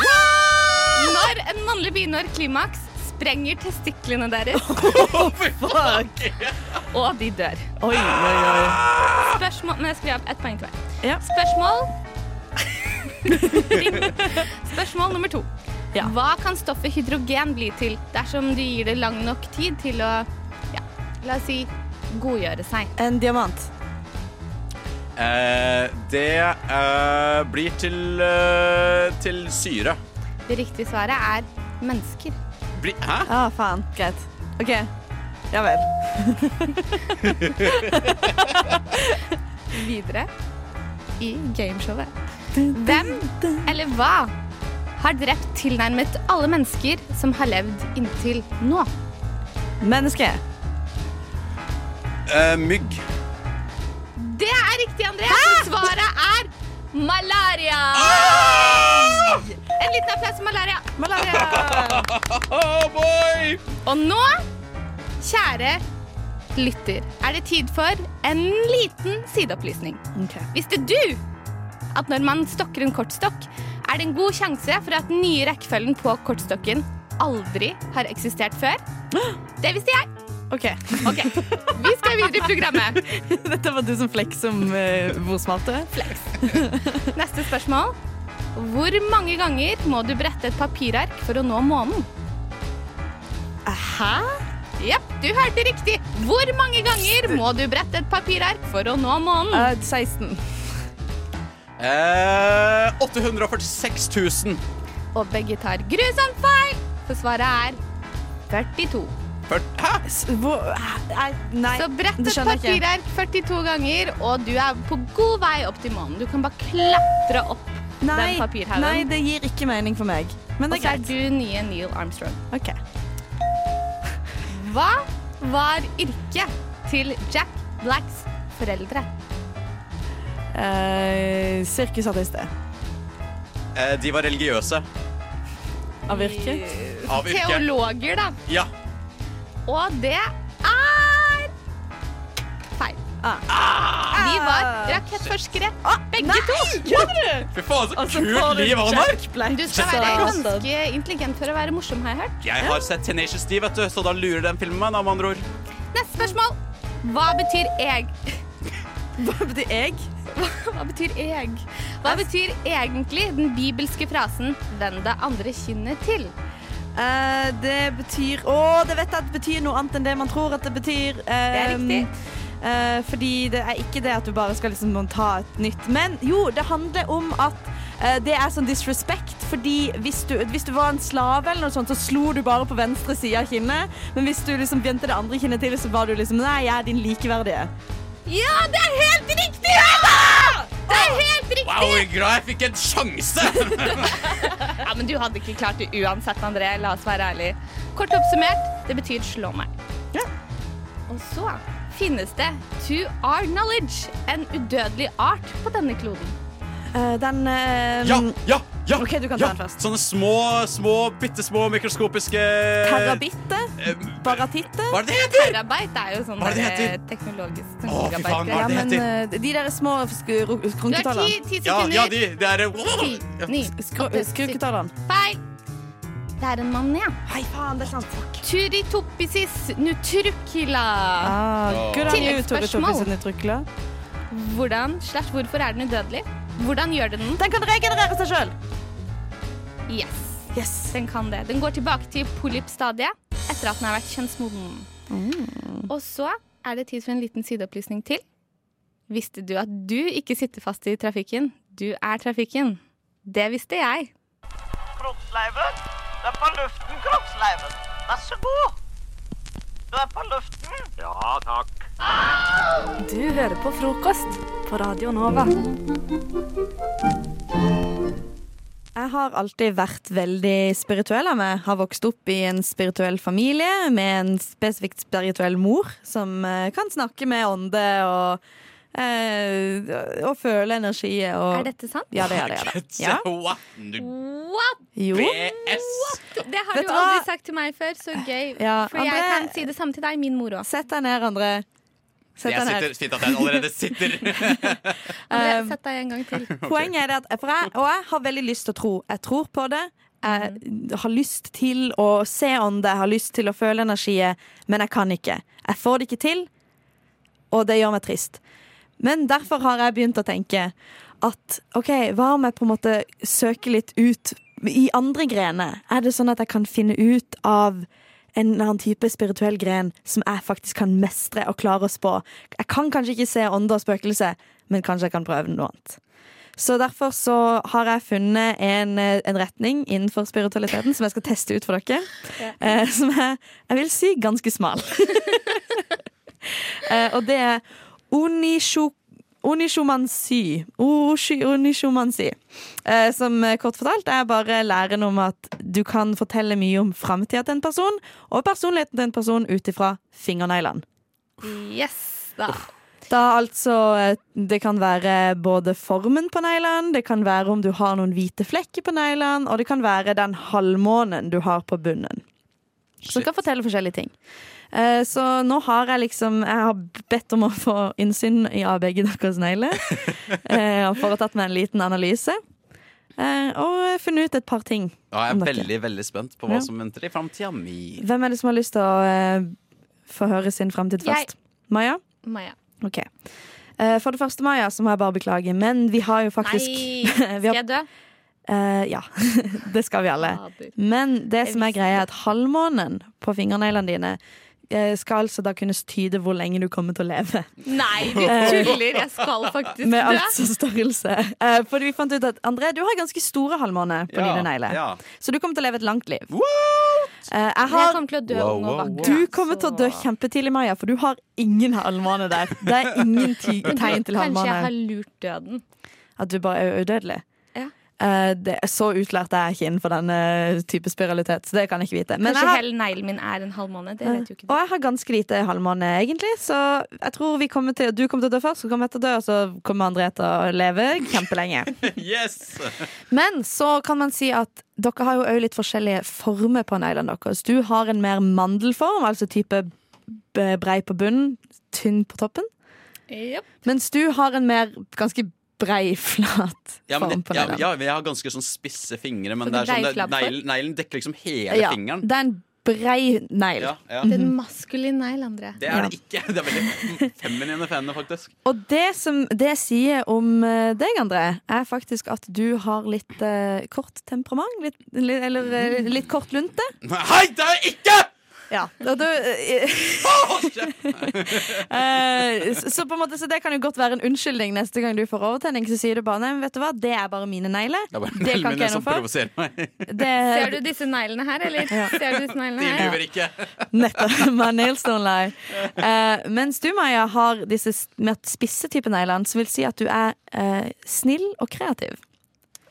Når en mannlig bie når klimaks, sprenger testiklene deres,
Fuck.
og de dør.
Oi, oi, oi.
Spørsmål Men jeg skriver opp ett poeng til hver.
Ja.
Spørsmål Spørsmål nummer to.
Ja.
Hva kan stoffet hydrogen bli til dersom du gir det lang nok tid til å ja, la oss si godgjøre seg?
En diamant.
Eh, det eh, blir til eh, til syre.
Det riktige svaret er mennesker.
Bli, hæ?
Å, faen. Greit. OK. Ja vel.
Videre i gameshowet. Hvem eller hva har drept tilnærmet alle mennesker som har levd inntil nå?
Menneske.
Eh, mygg.
Det er riktig, André. Så svaret er malaria. En liten applaus for malaria.
Malaria.
Oh boy!
Og nå, kjære lytter, er det tid for en liten sideopplysning.
Ok.
Visste du at når man stokker en kortstokk, er det en god sjanse for at den nye rekkefølgen på kortstokken aldri har eksistert før? Det visste jeg.
OK.
Ok, Vi skal videre i programmet.
Dette var du som fleks om eh, hvor smart du er.
Neste spørsmål. Hvor mange ganger må du brette et papirark for å nå månen?
Hæ?
Jepp, du hørte riktig. Hvor mange ganger må du brette et papirark for å nå månen? 16.
Eh, 846 000.
Og begge tar grusomt feil, for svaret er 42.
eh, Nei,
Så brett
det
et
skjønner jeg ikke.
papirark 42 ganger, og du er på god vei opp til månen. Du kan bare klatre opp
Nei,
den papirhaugen.
nei, det gir ikke mening for meg. Men det er
Og
greit.
så er du nye Neil Armstrong.
Ok.
Hva var yrket til Jack Blacks foreldre?
Eh, Sirkusartister.
Eh, de var religiøse.
Av yrke. Eh,
Av yrke.
Teologer, da.
Ja.
Og det er feil.
Ah!
De var rakettforskere, begge to.
Fy faen, så
Altså,
kult liv han har!
Du skal være ganske intelligent for å være morsom, har jeg hørt.
Jeg har sett Tenacious D, vet du, så da lurer den filmen meg, da, med andre ord.
Neste spørsmål. Hva betyr egg? Hva betyr egg? Hva betyr egg? Hva betyr egentlig den bibelske frasen 'vend det andre kinnet til'?
Eh, det betyr Å, det vet jeg at det betyr noe annet enn det man tror at det betyr.
Det er riktig.
eh, fordi det er ikke det at du bare skal liksom ta et nytt. Men jo, det handler om at eh, det er sånn disrespect, fordi hvis du, hvis du var en slave eller noe sånt, så slo du bare på venstre side av kinnet. Men hvis du liksom vendte det andre kinnet til, så var du liksom Nei, jeg er din likeverdige.
Ja, det er helt riktig! Eva! Det er helt riktig!
Wow, jeg er glad jeg fikk en sjanse!
Ja, men du hadde ikke klart det uansett, André. La oss være ærlige. Kort oppsummert, det betyr slå meg. Og så finnes det to our knowledge, en udødelig art på denne kloden.
Eh, den eh,
Ja, ja, ja!
OK, du kan
ja.
ta den først.
Sånne små, små, bitte små mikroskopiske eh,
Terabitte? Baratitte?
Hva er det det heter?
Terabyte er jo sånn
Hva er det det
der,
heter?
teknologisk sånn
Å, fy faen, hva
Ja,
er det
men
det heter?
eh, de der små skru-
Du har
skrunketallene.
ti, ti
Ja,
sekunder.
ja, de, det er
Ti, ni,
Skru- eh,
åtte,
Skruketallene.
syv. Feil. Det er en manet.
Hei, faen, det er sant. Fuck.
Turitopisis nutrukila.
Ah, good on you, Tore
Tilleggsspørsmål.
Torkelsen i Trykla.
Hvordan slash hvorfor er den udødelig? Hvordan gjør den den?
Den kan regenerere seg sjøl!
Yes. Den kan det. Den går tilbake til polypstadiet etter at den har vært kjønnsmoden.
Mm.
Og så er det tid for en liten sideopplysning til. Visste du at du ikke sitter fast i trafikken? Du er trafikken. Det visste jeg.
Kroppsleiven. Det er på luften, kroppsleiven. Vær så god. Du er på luften. Ja, takk.
Du hører på frokost på Radio Nova.
Jeg har alltid vært veldig spirituell av meg. Har vokst opp i en spirituell familie med en spesifikt spirituell mor som eh, kan snakke med ånde og, eh, og føle energiet. Og,
Er dette sant?
Ja, det er det. Er det. Ja.
What? Du
Mm.
What?
Jo.
BS!
Det har
Vet
du
du hva?
aldri sagt til meg før, så gøy.
Ja,
For jeg
André-
kan si det samme til deg, min mor òg.
Sett deg ned, André. Sett
Jeg
deg ned.
sitter, fint at jeg allerede sitter.
Um,
Sett deg en gang til.
Poenget er det at for jeg, Og jeg har veldig lyst til å tro. Jeg tror på det.
Mm.
Jeg har lyst til å se ånde, jeg har lyst til å føle energiet, men jeg kan ikke. Jeg får det ikke til, og det gjør meg trist. Men derfor har jeg begynt å tenke at OK, hva om jeg på en måte søker litt ut i andre grener? Er det sånn at jeg kan finne ut av en eller annen type spirituell gren som jeg faktisk kan mestre og klare å spå? Jeg kan kanskje ikke se ånde og spøkelse, men kanskje jeg kan prøve noe annet. Så derfor så har jeg funnet en, eh, en retning innenfor spiritualiteten som jeg skal teste ut for dere. Eh, som er, jeg vil si, ganske smal. eh, og det er onisho- onishomansi. Oshi- Onishomansi. Eh, som eh, kort fortalt er bare læren om at du kan fortelle mye om framtida til en person, og personligheten til en person ut ifra fingerneglene.
Yes, da.
Da altså eh, Det kan være både formen på neglene, det kan være om du har noen hvite flekker på neglene, og det kan være den halvmånen du har på bunnen. Som kan fortelle forskjellige ting. Eh, Så nå har jeg liksom Jeg har bedt om å få innsyn i av begge deres negler. Eh, Og foretatt meg en liten analyse. Eh, Og funnet ut et par ting.
Ja, jeg
om
er
dere.
veldig veldig spent på hva
Ja.
som venter i framtida mi.
Hvem er det som har lyst til å eh, få høre sin framtid
Jeg.
først? Maja?
Maja.
Ok. Eh, for det første, Maja, så må jeg bare beklage, men vi har jo faktisk
Nei, skal jeg dø?
Eh, ja. det skal vi alle. Men det som er greia, er at halvmånen på fingerneglene dine eh, skal altså da kunne tyde hvor lenge du kommer til å leve.
Nei, du tuller. Jeg skal faktisk
Eh, Med
dø.
altså størrelse. Eh, Fordi vi fant ut at André, du har ganske store halvmåner på
Ja,
dine negler.
ja.
Så du kommer til å leve et langt liv. Eh, Jeg
Jeg
har
kommer til å dø ung og vakker.
Du kommer til å dø kjempetidlig, Maja, for du har ingen halvmåne der. Det er ingen ti-
Men du,
tegn til
Kanskje jeg har
halvmåne.
lurt døden.
At du bare er udødelig.
Ja.
Eh, det, så utlært er jeg ikke innenfor denne type spiralitet, så det kan jeg ikke vite. Men jeg
kanskje
har Eh,
hele neglen min er en halvmåne. Det vet jo ikke du.
og jeg har ganske lite halvmåne, egentlig, så jeg tror vi kommer til, du kommer til å dø først, så kommer jeg til å dø, og så kommer André til å leve kjempelenge.
Yes!
Men så kan man si at dere har jo også litt forskjellige former på neglene deres. Du har en mer mandelform, altså type b- brei på bunnen, tynn på toppen. Mens du har en mer ganske brei, flat
Ja, men
form
det,
på
ja,
neglene.
ja, jeg har ganske sånn spisse fingre, men
Så det
det er sånn,
er
det,
flabb for?
neglen, neglen dekker liksom hele
Ja,
fingeren.
det er en brei negl.
Ja, ja.
Det er en maskulin negl, André.
Det er det ikke. Det er veldig feminine fender, faktisk.
Og det som det sier om eh, deg, André, er faktisk at du har litt eh, kort temperament. Litt, li- eller eh, litt kort lunte.
Hei, det er jeg ikke!
Ja, og du, eh, eh, så, så på en måte, så det kan jo godt være en unnskyldning neste gang du får overtenning. Så sier du bare nei, men vet du hva, det er bare mine negler.
Det er bare
Det kan
neglene
ikke jeg
som
noe for.
provoserer meg.
Ser du disse neglene her, eller? Ser du disse
De
neglene her?
lyver ikke.
Nettopp. My nails don't lie. Eh, mens du, Maja, har disse s- mer spisse type neglene, som vil si at du er eh, snill og kreativ.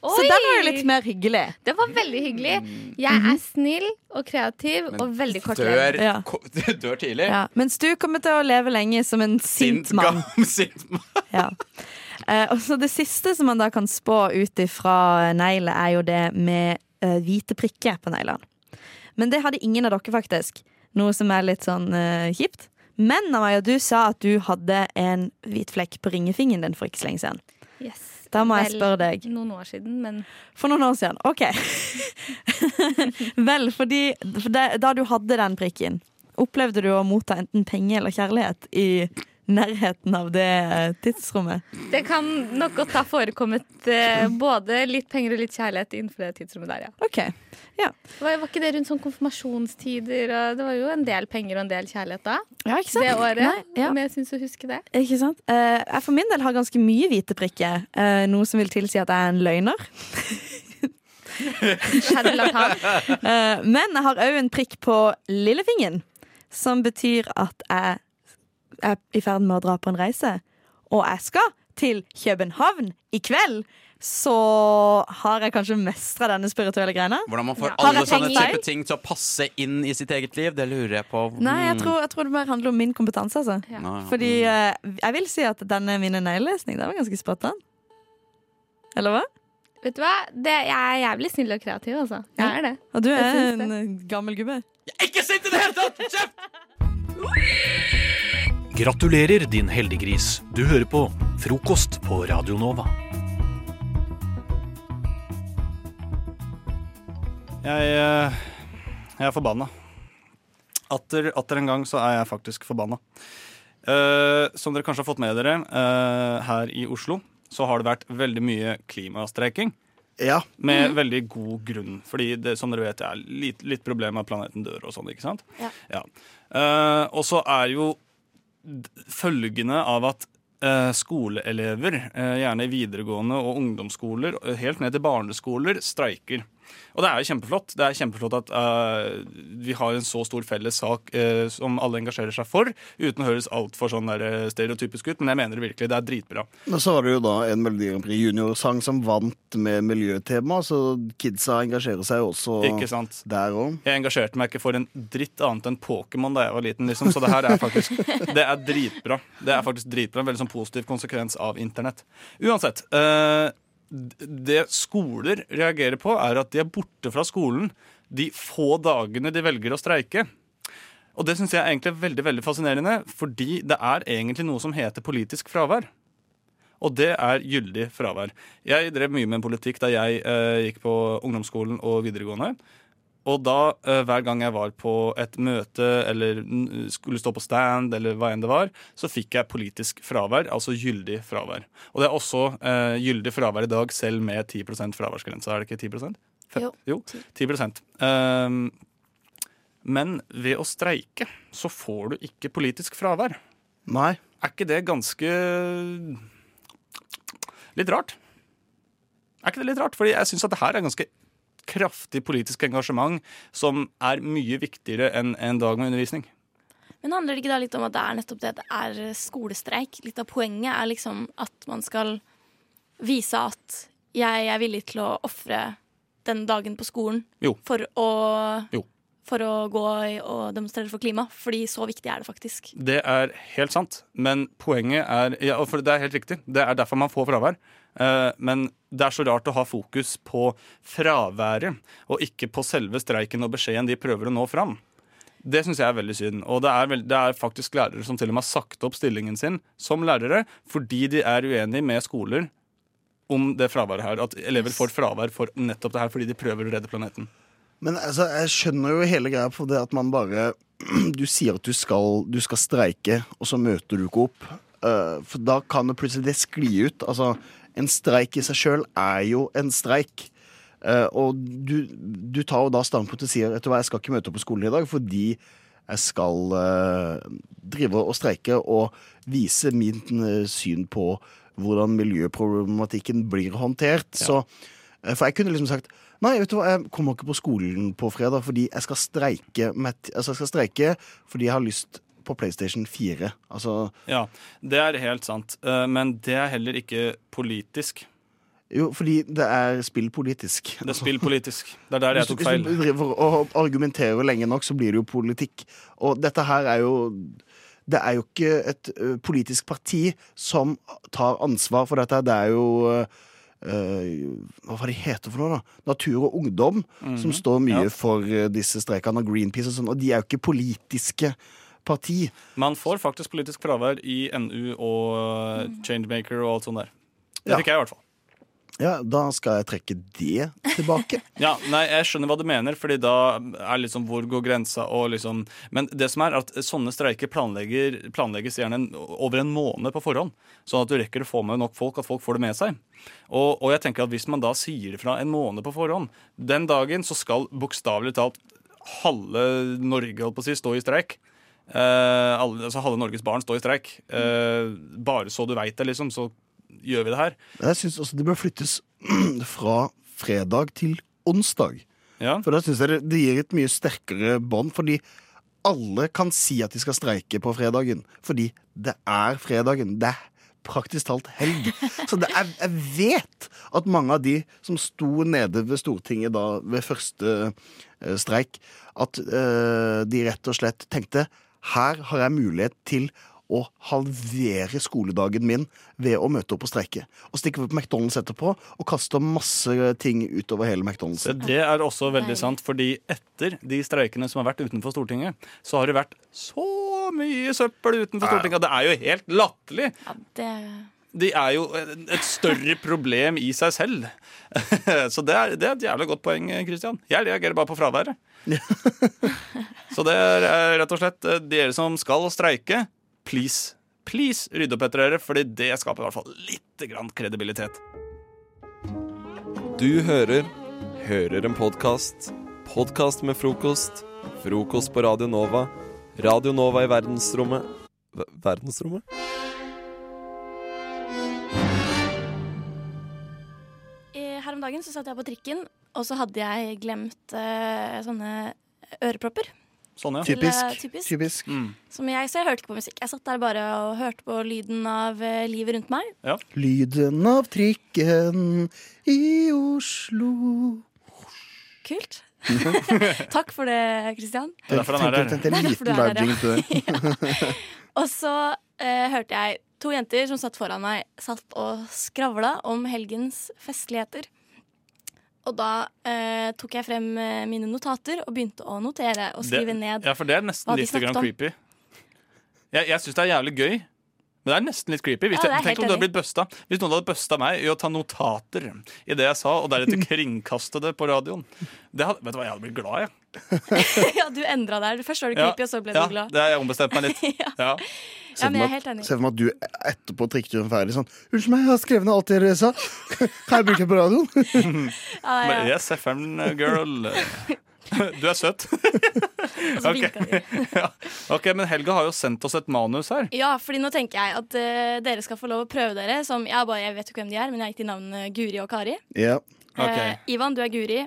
Så
Oi!
den er jo litt mer Mhm. hyggelig.
Det var veldig hyggelig. Jeg er snill og kreativ og veldig kortlevd.
Dør, ko- dør tidlig.
Ja, mens du kommer til å leve lenge som en sint mann.
Sint mann.
Ja. Eh, og så det siste som man da kan spå ut ifra eh, negler, er jo det med eh, hvite prikker på neglene. Men det hadde ingen av dere, faktisk. Noe som er litt sånn eh, kjipt. Men Amaya, du sa at du hadde en hvit flekk på ringefingeren din for ikke så lenge siden.
Yes.
Da må
Vel,
jeg spørre deg.
Noen år siden, men
For noen år siden. OK. Vel, fordi for det, da du hadde den prikken, opplevde du å motta enten penger eller kjærlighet i nærheten av det eh, tidsrommet?
det kan nok godt ha forekommet eh, både litt penger og litt kjærlighet innenfor det tidsrommet der, ja.
OK. Ja.
Det Var, var ikke det rundt sånn konfirmasjonstider, og det var jo en del penger og en del kjærlighet da?
Ja, ikke sant?
Det året,
Nei, ja.
om jeg syns å huske det.
Ikke sant? Eh, jeg for min del har ganske mye hvite prikker, eh, noe som vil tilsi at jeg er en løgner. Eh, men jeg har òg en prikk på lillefingeren, som betyr at jeg er i ferd med å dra på en reise. Og jeg skal til København i kveld! Så har jeg kanskje mestra denne spirituelle greina.
Hvordan man får
Har
alle
jeg
sånne
tenkt feil?
type ting til å passe inn i sitt eget liv, det lurer jeg på.
Nei, jeg tror, jeg tror det mer handler om min kompetanse. Altså.
Mm. Ja.
Fordi eh, jeg vil si at denne mine neglelesning, den var ganske sprøtt, den. Eller hva?
Vet du hva? Det, jeg er jævlig snill og kreativ, altså. Jeg er det.
Og du
Jeg
er
syns det.
en eh, gammel gubbe.
Ikke sint i det hele tatt! Kjeft!
Gratulerer, din heldiggris. Du hører på Frokost på Radio Nova.
Jeg, eh, jeg er forbanna. Atter, atter en gang så er jeg faktisk forbanna. Eh, som dere kanskje har fått med dere, eh, her i Oslo så har det vært veldig mye klimastreiking. Med veldig god grunn. Fordi det, som dere vet, det er litt, litt problem med at planeten dør og sånn. ikke sant?
Ja.
Eh, og så er jo d- følgende av at eh, skoleelever, eh, gjerne i videregående og ungdomsskoler, eh, helt ned til barneskoler, streiker. Og det er jo kjempeflott. Det er kjempeflott at eh, vi har en så stor felles sak eh, som alle engasjerer seg for, uten å høres altfor sånn der, eh, stereotypisk ut, men jeg mener det virkelig. Det er dritbra.
Men så var det jo da en Melodi Grand Prix Junior-sang som vant med miljøtema, så kidsa engasjerer seg jo også
Ikke sant?
der òg.
Jeg engasjerte meg ikke for en dritt annet enn Pokémon da jeg var liten, liksom. Så det her er faktisk Det er dritbra. Det er faktisk dritbra. En veldig sånn positiv konsekvens av internett. Uansett. eh, d- det skoler reagerer på, er at de er borte fra skolen de få dagene de velger å streike. Og det syns jeg er egentlig er veldig veldig fascinerende, fordi det er egentlig noe som heter politisk fravær. Og det er gyldig fravær. Jeg drev mye med politikk da jeg eh, gikk på ungdomsskolen og videregående. Og da, eh, hver gang jeg var på et møte eller mm, skulle stå på stand, eller hva enn det var, så fikk jeg politisk fravær, altså gyldig fravær. Og det er også eh, gyldig fravær i dag, selv med 10 fraværsgrense. Er det ikke 10 Fe-
Jo.
jo 10 um, Ehm, Men ved å streike så får du ikke politisk fravær.
Nei.
Er ikke det ganske litt rart? Er ikke det litt rart? Fordi jeg syns at det her er ganske kraftig politisk engasjement som er mye viktigere enn en dag med undervisning.
Men handler det ikke da litt om at det er nettopp det at det er eh, skolestreik? Litt av poenget er liksom at man skal vise at jeg er villig til å ofre den dagen på skolen
Jo.
for å,
Jo.
for å gå i- og demonstrere for klima, fordi så viktig er det faktisk.
Det er helt sant, men poenget er ja, og for Det er helt riktig. Det er derfor man får fravær. Eh, Men det er så rart å ha fokus på fraværet, og ikke på selve streiken og beskjeden de prøver å nå fram. Det syns jeg er veldig synd. Og det er, vel- det er faktisk lærere som til og med har sagt opp stillingen sin som lærere fordi de er uenige med skoler om det fraværet her. At elever får fravær for nettopp det her fordi de prøver å redde planeten.
Men altså, jeg skjønner jo hele greia på det at man bare Du sier at du skal, du skal streike, og så møter du ikke opp. Eh, for da kan det plutselig det skli ut. Altså, en streik i seg sjøl er jo en streik. Eh, og du, du tar jo da standpunkt og sier vet du hva, jeg skal ikke møte opp på skolen i dag fordi jeg skal eh, drive og streike og vise mitt eh, syn på hvordan miljøproblematikken blir håndtert. Så, eh, for jeg kunne liksom sagt Nei, vet du hva, jeg kommer ikke på skolen på fredag fordi jeg skal streike, med, altså jeg skal streike fordi jeg har lyst på PlayStation 4. Altså,
Ja, det er helt sant. Eh, Men det er heller ikke politisk.
jo, fordi det er spillpolitisk.
Det er spillpolitisk. Det er der jeg tok
Hvis-
feil.
Hvis du driver og argumenterer lenge nok, så blir det jo politikk. Og dette her er jo Det er jo ikke et ø, politisk parti som tar ansvar for dette. Det er jo ø, ø, hva var det heter for noe, da? Natur og Ungdom, som
Mhm,
står mye
ja.
for ø, disse streikene, og Greenpeace og sånn. Og de er jo ikke politiske parti.
Man får faktisk politisk fravær i NU og Changemaker og alt sånt der. Det
Ja.
fikk jeg i hvert fall.
Ja, da skal jeg trekke det tilbake.
Ja, nei, Jeg skjønner hva du mener, Fordi da er liksom hvor går grensa og liksom Men det som er at sånne streiker planlegger, planlegges gjerne en, over en måned på forhånd. Sånn at du rekker å få med nok folk, at folk får det med seg. Og, og jeg tenker at hvis man da sier fra en måned på forhånd Den dagen så skal bokstavelig talt halve Norge holdt på å si, stå i streik. Eh, alle, altså Halve Norges barn står i streik. Eh, bare så du veit det, liksom, så gjør vi det her.
Men Jeg syns også det bør flyttes fra fredag til onsdag. For da syns jeg det, det gir et mye sterkere bånd, fordi alle kan si at de skal streike på fredagen. Fordi det er fredagen. Det er praktisk talt helg. Så det er, jeg vet at mange av de som sto nede ved Stortinget da ved første eh, streik, at eh, de rett og slett tenkte her har jeg mulighet til å halvere skoledagen min ved å møte opp og streike. Og stikke på McDonald's etterpå og kaste masse ting utover hele McDonald's.
Det- Det er også veldig sant, fordi etter de streikene som har vært utenfor Stortinget, så har det vært så mye søppel utenfor Stortinget. og Det er jo helt latterlig!
Det,
De er jo et større problem i seg selv. Så det er, det er et jævlig godt poeng, Kristian. Jeg reagerer bare på fraværet. Så det er rett og slett eh, dere som skal streike, please, please rydde opp etter dere, fordi det skaper i hvert fall litt grann kredibilitet.
Du hører Hører en podkast. Podkast med frokost. Frokost på Radio Nova. Radio Nova i verdensrommet Ver- Verdensrommet?
Eh, Her om dagen så satt jeg på trikken, og så hadde jeg glemt eh, sånne ørepropper.
Sånn, ja.
Til, eh, typisk.
Mm.
Som jeg, så jeg hørte ikke på musikk. Jeg satt der bare og hørte på lyden av eh, livet rundt meg.
Lyden av trikken i Oslo
Kult. Takk for det, Kristian.
Det er derfor han er der. Det er en
derfor
liten
du
live jingle
er der, ja. Og så eh, hørte jeg to jenter som satt foran meg, satt og skravla om helgens festligheter. Og da eh, tok jeg frem eh, mine notater og begynte å notere og skrive
det,
ned.
Ja, for det er
hva
nesten
de
litt grann
snakket om.
creepy. Jeg, jeg syns det er jævlig gøy, men det er nesten litt creepy. Hvis
Ja, det er
jeg, tenk
helt
om du hadde
enig.
blitt busta. Hvis noen hadde busta meg i å ta notater i det jeg sa, og deretter kringkaste det på radioen. Det hadde, vet du hva, jeg hadde blitt glad, jeg.
ja, du endra der. Først var du
Ja,
creepy, og så ble
ja,
du glad.
det har jeg ombestemt meg litt. ja.
Ja, men jeg er helt enig.
Se for meg at du etterpå trikketuren ferdig sånn 'Unnskyld meg, jeg har skrevet ned alt dere sa. Kan jeg bruke det på radioen?'
Ja, ja.
Men Yes, FM girl. Du er søt. Ok. ja. ok, men Helga har jo sendt oss et manus her.
Ja, fordi nå tenker jeg at eh, dere skal få lov å prøve dere som Jeg, bare, jeg vet jo ikke hvem de er, men jeg gikk til navnene Guri og Kari.
Ja.
Eh, Ivan, du er Guri.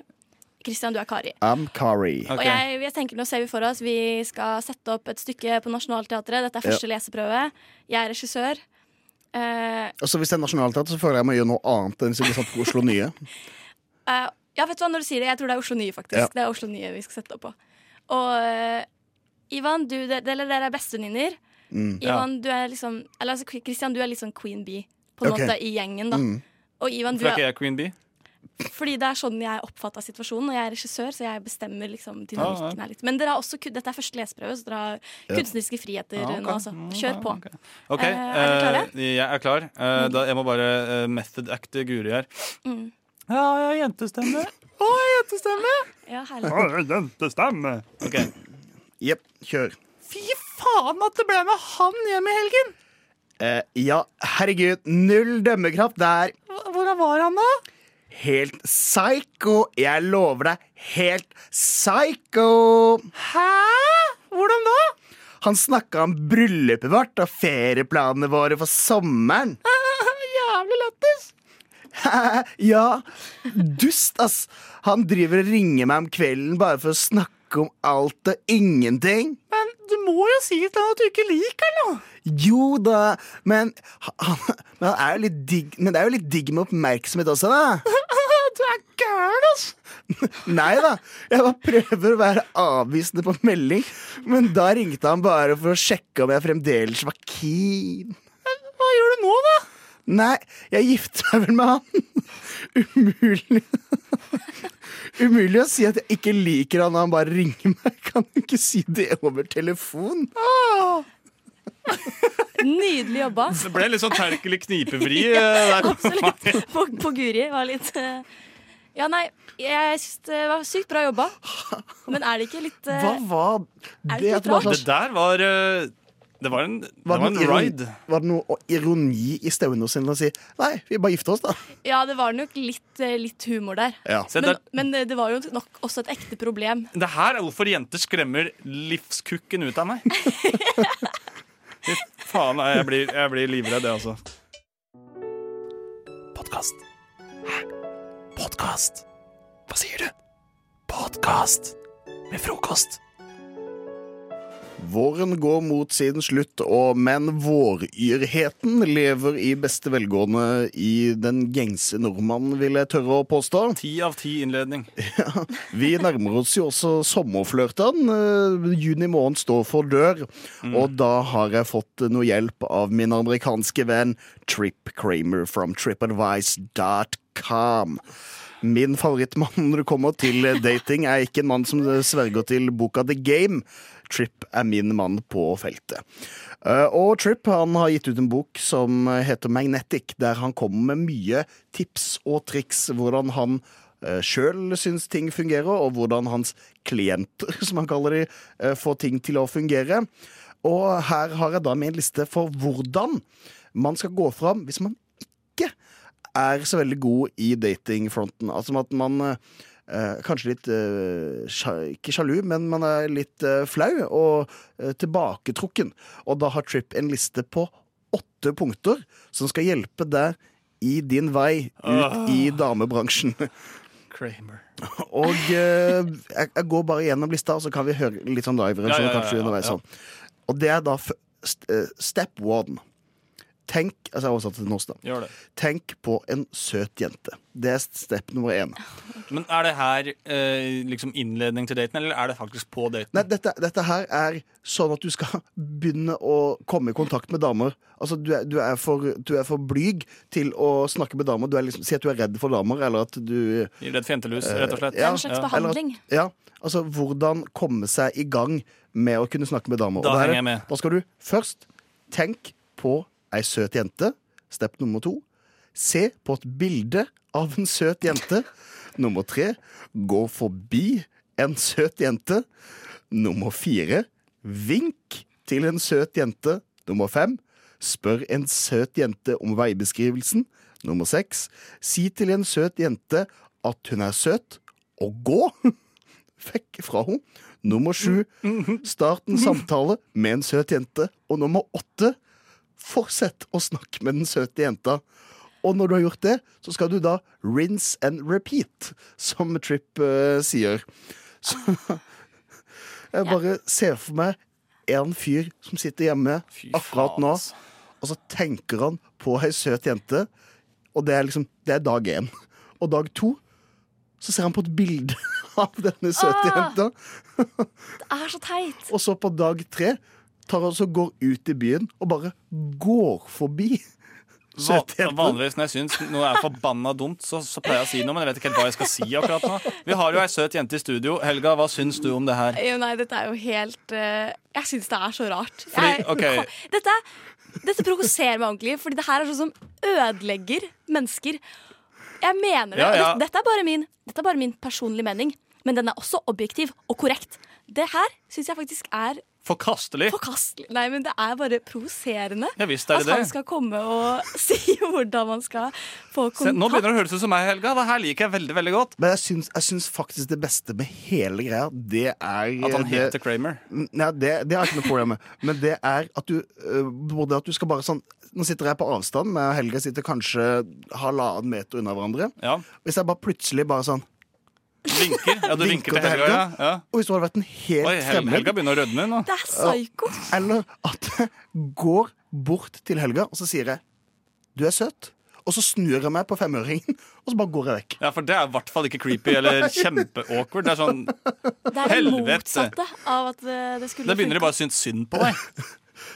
Christian, du er Kari.
I'm Kari.
Og jeg, jeg tenker Nå ser vi for oss vi skal sette opp et stykke på Nationaltheatret. Dette er
Ja.
første leseprøve. Jeg er regissør. Eh,
Og så Hvis det er nasjonalteater, så føler jeg meg gjøre noe annet enn hvis jeg blir satt på Oslo Nye.
eh, ja, vet du hva, når du sier det, jeg tror det er Oslo Nye, faktisk.
Ja.
Det er Oslo Nye vi skal sette opp på. Og eh, Ivan, du, de- eller dere er bestevenninner.
Mm.
Ivan, du er liksom Eller altså, Christian, du er litt sånn Queen Bee, på en
Ok.
måte, i gjengen, da.
Mm.
Og Ivan, du
Hvorfor er ikke
er,
jeg Queen Bee?
fordi det er sånn jeg oppfatta situasjonen, og jeg er regissør, så jeg bestemmer liksom
Ah,
dynamikken
ja.
her litt. Men dere har også, ku- dette er første leseprøve, så dere har
Ja.
kunstneriske friheter
Ja, ok.
nå, altså. Kjør på.
Ok,
Eh, er Mm. dere klare?
eh, jeg er klar. Eh, da, jeg må bare eh, method acte Guri her.
Mm.
Ja, jeg har jentestemme.
Å, jentestemme! Ja, herlig.
jentestemme. Ok.
Jepp, kjør.
Fy faen at det ble med han hjem i helgen!
Eh, ja, herregud, null dømmekraft der.
Hvordan var han, da?
Helt psycho. Jeg lover deg, helt psycho.
Hæ? Hvordan da?
Han snakka om bryllupet vårt og ferieplanene våre for sommeren.
Jævlig lættis!
ja, dust, ass. Han driver og ringer meg om kvelden bare for å snakke om alt og ingenting.
Men du må jo si til han at du ikke liker han, da!
Jo da, men han, men han er jo litt digg Men det er jo litt digg med oppmerksomhet også, da.
Du er gæren, altså!
Nei da. Jeg bare prøver å være avvisende på melding, men da ringte han bare for å sjekke om jeg fremdeles var keen.
Hva gjør du nå, da?
Nei, jeg gifter meg vel med han. Umulig. Umulig å si at jeg ikke liker han når han bare ringer meg. Kan du ikke si det over telefon?
Ah!
Nydelig jobba.
Det ble litt sånn terkelig knipevri eh, der.
På, på Guri var litt eh, Ja, nei, jeg syns det var sykt bra jobba. Men er det ikke litt eh,
Hva var
Er det
det?
ikke bra?
Det der var eh, Det var en, det var
Var det,
en
noe
ride.
ironi, var det noe ironi i stemmen hos henne å si nei, vi bare gifter oss, da?
Ja, det var nok litt, eh, litt humor der.
Ja.
Se,
Men,
der-
men eh, det var jo nok også et ekte problem.
Det her er hvorfor jenter skremmer livskukken ut av meg. Fy faen, nei, jeg blir, jeg blir livredd, jeg, altså.
Podkast. Hæ? Podkast? Hva sier du? Podkast med frokost.
Våren går mot sin slutt, og men våryrheten lever i beste velgående i den gjengse nordmannen, vil jeg tørre å påstå.
Ti av ti innledning.
Ja, vi nærmer oss jo også sommerflørten. Eh, juni måned står for dør, og da har jeg fått noe hjelp av min amerikanske venn Trip Kramer from tripadvice.com. Min favorittmann når det kommer til dating, er ikke en mann som sverger til boka The Game. Trip er min mann på feltet. Eh, Og Trip han har gitt ut en bok som heter Magnetic, der han kommer med mye tips og triks hvordan han eh, sjøl syns ting fungerer, og hvordan hans klienter, som han kaller de, eh, får ting til å fungere. Og her har jeg da med en liste for hvordan man skal gå fram hvis man ikke er så veldig god i datingfronten. Altså at man eh, kanskje litt eh, sja- Ikke sjalu, men man er litt eh, flau og eh, tilbaketrukken. Og da har Tripp en liste på åtte punkter som skal hjelpe deg i din vei ut
Ah.
i damebransjen.
Kramer.
Og eh, jeg, jeg går bare gjennom lista, og så kan vi høre litt sånn live-reaksjon
Ja, ja, ja, ja,
kanskje
ja.
underveis. sånn. Og det er da f st eh, step one. Tenk altså jeg har oversatt det til norsk, da.
Gjør det.
Tenk på en søt jente. Det er step nummer én.
Men er det her eh, liksom innledning til daten, eller er det faktisk på daten?
Nei, dette, dette her er sånn at du skal begynne å komme i kontakt med damer. Altså, du er, du er, for, du er for blyg til å snakke med damer. Du er liksom, si at du er redd for damer, eller at du
Redd for jentelus, rett og slett.
Eh, ja, eller at- ja, altså hvordan komme seg i gang med å kunne snakke med damer.
Da
Og det her-
henger jeg med.
Da skal du først tenk på ei søt jente. Step nummer to. Se på et bilde av en søt jente. Nummer tre. Gå forbi en søt jente. Nummer fire. Vink til en søt jente. Nummer fem. Spør en søt jente om veibeskrivelsen. Nummer seks. Si til en søt jente at hun er søt, og gå. fikk fra henne. Nummer sju start en samtale med en søt jente. Og nummer åtte fortsett å snakke med den søte jenta. Og når du har gjort det, så skal du da rinse and repeat, som Tripp eh, sier. Så jeg bare ser for meg en fyr som sitter hjemme akkurat nå, og så tenker han på ei søt jente, og det er liksom Det er dag én. Og dag to så ser han på et bilde av denne søte
Åh!
jenta.
Ah! Det er så teit.
Og så på dag tre tar han så går ut i byen og bare går forbi søtjenta.
Vanligvis når jeg syns noe er forbanna dumt, så, så pleier jeg å si noe. Men jeg vet ikke helt hva jeg skal si akkurat nå. Vi har jo ei søt jente i studio. Helga, hva syns du om det her?
Jo, nei, dette er jo helt eh, Jeg syns det er så rart.
Fordi-
jeg,
ok.
Dette, dette provoserer meg ordentlig, Fordi det her er sånn som ødelegger mennesker. Jeg mener det.
Ja, ja.
og det- Dette, er bare min, dette er bare min personlige mening, men den er også objektiv og korrekt. Det her syns jeg faktisk er
Forkastelig.
forkastelig. Nei, men det er bare provoserende
Ja, visst er det
at
det.
han skal komme og si hvordan man skal få
Se,
kontakt.
nå begynner det å høres ut som meg, Helga. Det her liker jeg veldig veldig godt.
Men jeg syns, jeg syns faktisk det beste med hele greia, det er
At han
det-
heter Kramer.
Nei, det, det har jeg ikke noe problem med. Men det er at du øh, både at du skal bare sånn Nå sitter jeg på avstand, men Helga sitter kanskje halvannen meter unna hverandre. Hvis jeg bare plutselig bare sånn
Vinker. Ja, du vinker til Helga. Ja. Ja.
Og hvis du hadde vært en helt
Oi, Hel
fremmed
Helga begynner å rødme nå.
Det er psyko.
Eller at jeg går bort til Helga, og så sier jeg 'du er søt', og så snur jeg meg på femøringen, og så bare går jeg vekk.
Ja, for det er i hvert fall ikke creepy eller kjempeawkward. Det er sånn
Det er det
helvete.
motsatte av at eh, det skulle
Da begynner de
funke.
bare å synes synd på deg.